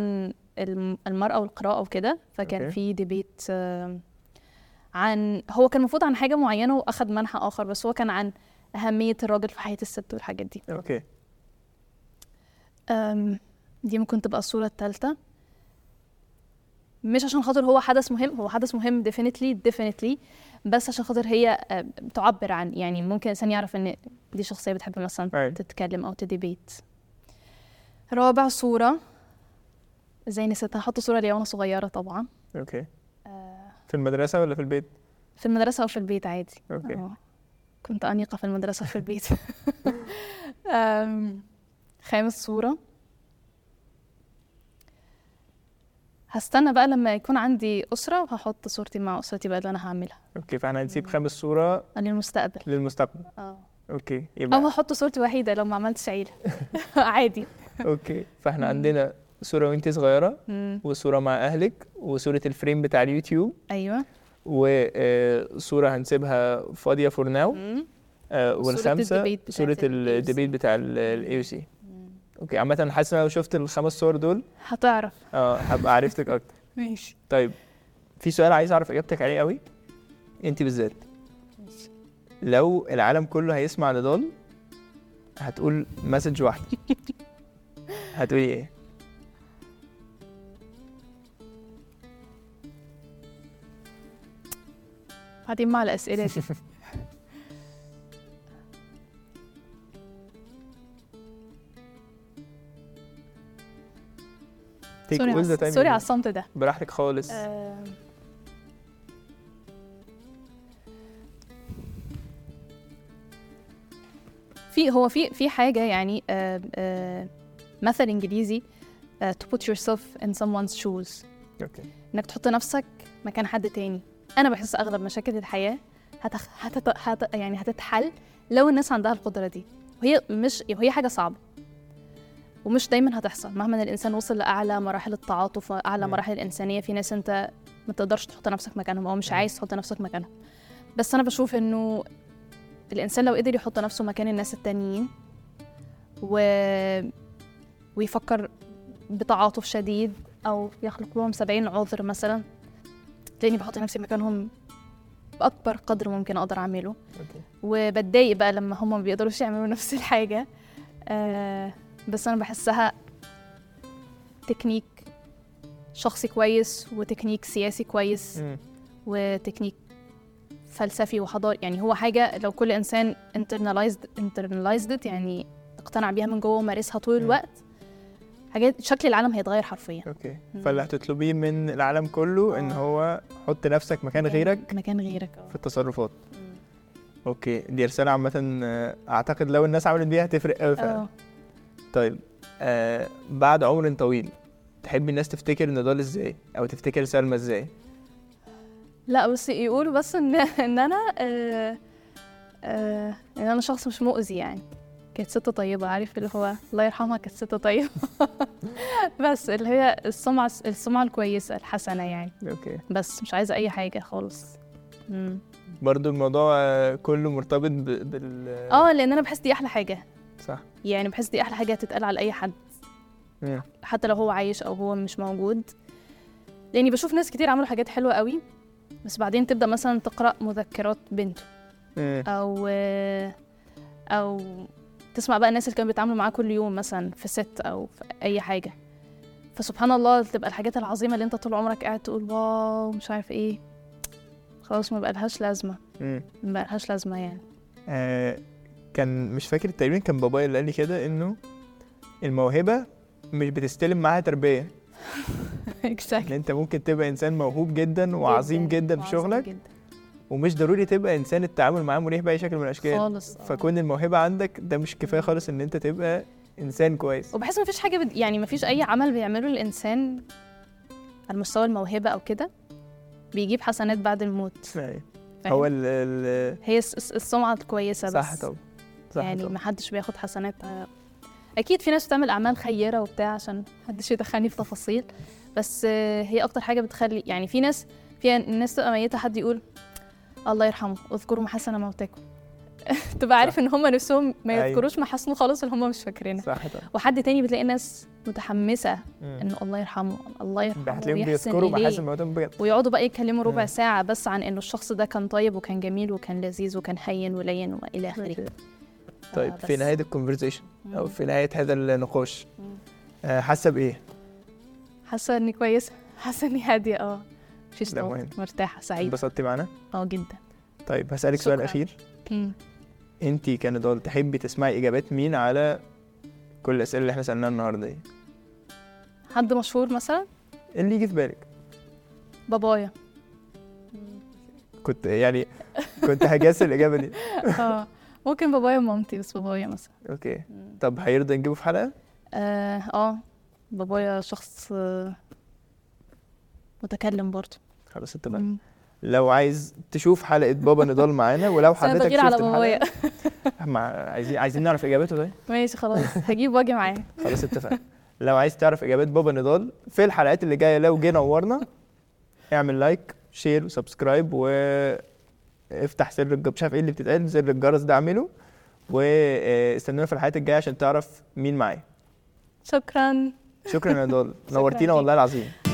S1: الم- المرأة والقراءة وكده فكان
S2: أوكي.
S1: في ديبيت أم، عن هو كان المفروض عن حاجة معينة واخد منحى اخر بس هو كان عن أهمية الراجل في حياة الست والحاجات دي
S2: اوكي
S1: أم، دي ممكن تبقى الصورة الثالثة مش عشان خاطر هو حدث مهم هو حدث مهم definitely definitely بس عشان خاطر هي أه، بتعبر عن يعني ممكن الإنسان يعرف إن دي شخصية بتحب مثلا
S2: Right.
S1: تتكلم أو تديبيت رابع صورة زي نسيت هحط صورة ليا وأنا صغيرة طبعا
S2: اوكي
S1: أه،
S2: في المدرسة ولا في البيت؟
S1: في المدرسة أو في البيت عادي
S2: اوكي
S1: آه. كنت أنيقة في المدرسة في البيت أم، خامس صورة هستنى بقى لما يكون عندي أسرة وهحط صورتي مع أسرتي بقى اللي أنا هعملها
S2: اوكي فاحنا هنسيب خمس صورة
S1: للمستقبل
S2: للمستقبل
S1: أو
S2: اوكي
S1: أو
S2: يبقى
S1: هحط صورتي وحيدة لو ما عملتش عيلة عادي
S2: [LAUGHS] اوكي فاحنا عندنا صورة وانت صغيرة
S1: مم.
S2: وصورة مع اهلك وصورة الفريم بتاع اليوتيوب
S1: أيوة
S2: وصورة هنسيبها فاضية فور ناو
S1: مم.
S2: والخامسة
S1: الديبيت بتاعت
S2: صورة
S1: ال AOC.
S2: الديبيت بتاع الاي او سي اوكي عامة أنا حاسس ان انا لو شفت الخمس صور دول
S1: هتعرف
S2: اه هبقى عرفتك اكتر
S1: ماشي
S2: طيب في سؤال عايز اعرف اجابتك عليه قوي انت بالذات لو العالم كله هيسمع نضال هتقول مسج
S1: [LAUGHS]
S2: واحده هتقولي ايه
S1: بعدين مع الأسئلة دي
S2: take
S1: سوري
S2: all the
S1: على-
S2: time you
S1: سوري على
S2: need.
S1: الصمت ده
S2: براحتك خالص
S1: آم، في هو في في حاجة يعني آم، آم، مثل إنجليزي آه، to put yourself in someone's shoes
S2: اوكي
S1: انك تحط نفسك مكان حد تاني انا بحس اغلب مشاكل الحياه هتخ... هتت... هت... يعني هتتحل لو الناس عندها القدره دي وهي مش وهي حاجه صعبه ومش دايما هتحصل مهما إن الانسان وصل لاعلى مراحل التعاطف واعلى
S2: مم.
S1: مراحل الانسانيه في ناس انت ما تقدرش تحط نفسك مكانهم او مش
S2: مم.
S1: عايز تحط نفسك مكانهم بس انا بشوف انه الانسان لو قدر يحط نفسه مكان الناس التانيين و... ويفكر بتعاطف شديد او يخلق لهم 70 عذر مثلا تلاقيني بحط نفسي مكانهم باكبر قدر ممكن اقدر اعمله
S2: اوكي
S1: وبتضايق بقى لما هم ما بيقدروش يعملوا [LAUGHS] نفس الحاجه آه بس انا بحسها تكنيك شخصي كويس وتكنيك سياسي كويس
S2: مم.
S1: وتكنيك فلسفي وحضاري يعني هو حاجه لو كل انسان internalized internalized it يعني اقتنع بيها من جوه ومارسها طول
S2: مم.
S1: الوقت حاجات شكل العالم هيتغير حرفيا
S2: اوكي
S1: مم.
S2: فاللي هتطلبيه من العالم كله ان
S1: آه.
S2: هو حط نفسك مكان غيرك
S1: مكان غيرك آه.
S2: في التصرفات
S1: مم.
S2: اوكي دي رساله عامه آه، اعتقد لو الناس عملت بيها هتفرق قوي فعلا
S1: اه
S2: طيب آه بعد عمر طويل تحب الناس تفتكر نضال ازاي او تفتكر سلمى ازاي
S1: لا بس يقولوا بس ان [LAUGHS] ان انا آه آه ان انا شخص مش مؤذي يعني كانت ست طيبة عارف اللي هو الله يرحمها كانت ست طيبة [LAUGHS] بس اللي هي السمعة السمعة الكويسة الحسنة يعني
S2: اوكي
S1: بس مش عايزة أي حاجة خالص مم.
S2: برضو الموضوع آه، كله مرتبط ب- بال
S1: اه لأن أنا بحس دي أحلى حاجة
S2: صح
S1: يعني بحس دي أحلى حاجة تتقال على أي حد
S2: مم.
S1: حتى لو هو عايش او هو مش موجود لاني بشوف ناس كتير عملوا حاجات حلوه قوي بس بعدين تبدا مثلا تقرا مذكرات بنته
S2: مم.
S1: او او تسمع بقى الناس اللي كانوا بيتعاملوا معاه كل يوم مثلا في ست او في اي حاجه فسبحان الله تبقى الحاجات العظيمه اللي انت طول عمرك قاعد تقول واو مش عارف ايه خلاص ما بقى لهاش لازمه
S2: مم.
S1: ما بقى لهاش لازمه يعني [LAUGHS]
S2: آه كان مش فاكر تقريبا كان بابايا اللي قال لي كده انه الموهبه مش بتستلم معاها تربيه ان
S1: اكزاكتلي
S2: انت ممكن تبقى انسان موهوب جدا وعظيم جدا في شغلك ومش ضروري تبقى انسان التعامل معاه مريح باي شكل من الاشكال
S1: خالص آه.
S2: فكون الموهبه عندك ده مش كفايه خالص ان انت تبقى انسان كويس
S1: وبحس مفيش حاجة بد... يعني مفيش أي عمل بيعمله الإنسان على مستوى الموهبة أو كده بيجيب حسنات بعد الموت
S2: يعني
S1: فاهم؟
S2: هو ال ال
S1: هي الس- الس- السمعة الكويسة
S2: صح
S1: بس
S2: طبعا صح
S1: يعني
S2: طبعا
S1: محدش بياخد حسنات آه، أكيد في ناس بتعمل أعمال خيرة وبتاع عشان محدش يدخلني في تفاصيل بس آه، هي أكتر حاجة بتخلي يعني في ناس في ناس تبقى ميتة حد يقول الله يرحمه اذكروا محاسن موتاكم [LAUGHS] تبقى عارف ان هم نفسهم ما
S2: أيوة.
S1: يذكروش محاسنه خالص اللي هم مش فاكرينها
S2: صح طبعا
S1: وحد تاني بتلاقي ناس متحمسه
S2: مم. يعني
S1: ان الله يرحمه الله يرحمه
S2: هتلاقيهم
S1: ويحسن
S2: بيذكروا
S1: إليه.
S2: محاسن موتهم بجد
S1: ويقعدوا بقى يتكلموا ربع
S2: مم.
S1: ساعة بس عن إنه الشخص ده كان طيب وكان جميل وكان لذيذ وكان هين ولين وإلى آخره. آه،
S2: أوكي. طيب في
S1: بس.
S2: نهايه الكونفرزيشن او
S1: مم.
S2: في نهايه هذا النقاش
S1: مم.
S2: آه، حاسه بايه؟
S1: حاسة إني كويسة، [LAUGHS] حاسة إني هادية أه مفيش
S2: ده
S1: ضغط،
S2: مهم.
S1: مرتاحة سعيدة
S2: اتبسطتي معانا؟
S1: أه جدا.
S2: طيب هسالك سؤال
S1: شكراً.
S2: اخير
S1: مم.
S2: انت كنضال تحبي تسمعي اجابات مين على كل الاسئله اللي احنا سالناها النهارده دي؟
S1: حد مشهور مثلا؟
S2: اللي يجي في بالك [LAUGHS]
S1: بابايا.
S2: كنت يعني كنت هجاس الاجابه
S1: [LAUGHS]
S2: دي
S1: أه ممكن بابايا ومامتي بس بابايا مثلا.
S2: اوكي
S1: مم.
S2: طب هيرضى نجيبه في حلقه؟
S1: أه آه، بابايا شخص آه، متكلم برضه.
S2: خلاص اتفقنا
S1: مم.
S2: لو عايز تشوف حلقه بابا نضال معانا ولو
S1: بس أنا
S2: حضرتك
S1: بغير
S2: شفت
S1: على
S2: الحلقه [LAUGHS]
S1: بابايا.
S2: مع... عايزين عايزين نعرف اجابته طيب
S1: [LAUGHS] ماشي خلاص هجيب واجي معاه.
S2: خلاص اتفقنا لو عايز تعرف اجابات بابا نضال في الحلقات اللي جايه لو جه نورنا اعمل لايك شير وسبسكرايب وافتح سر الجرس مش عارف ايه اللي بتتقال سر الجرس ده اعمله واستنونا في الحلقات الجايه عشان تعرف مين معايا
S1: شكرا.
S2: شكرا يا نضال
S1: [LAUGHS] شكراً
S2: نورتينا
S1: ليك.
S2: والله العظيم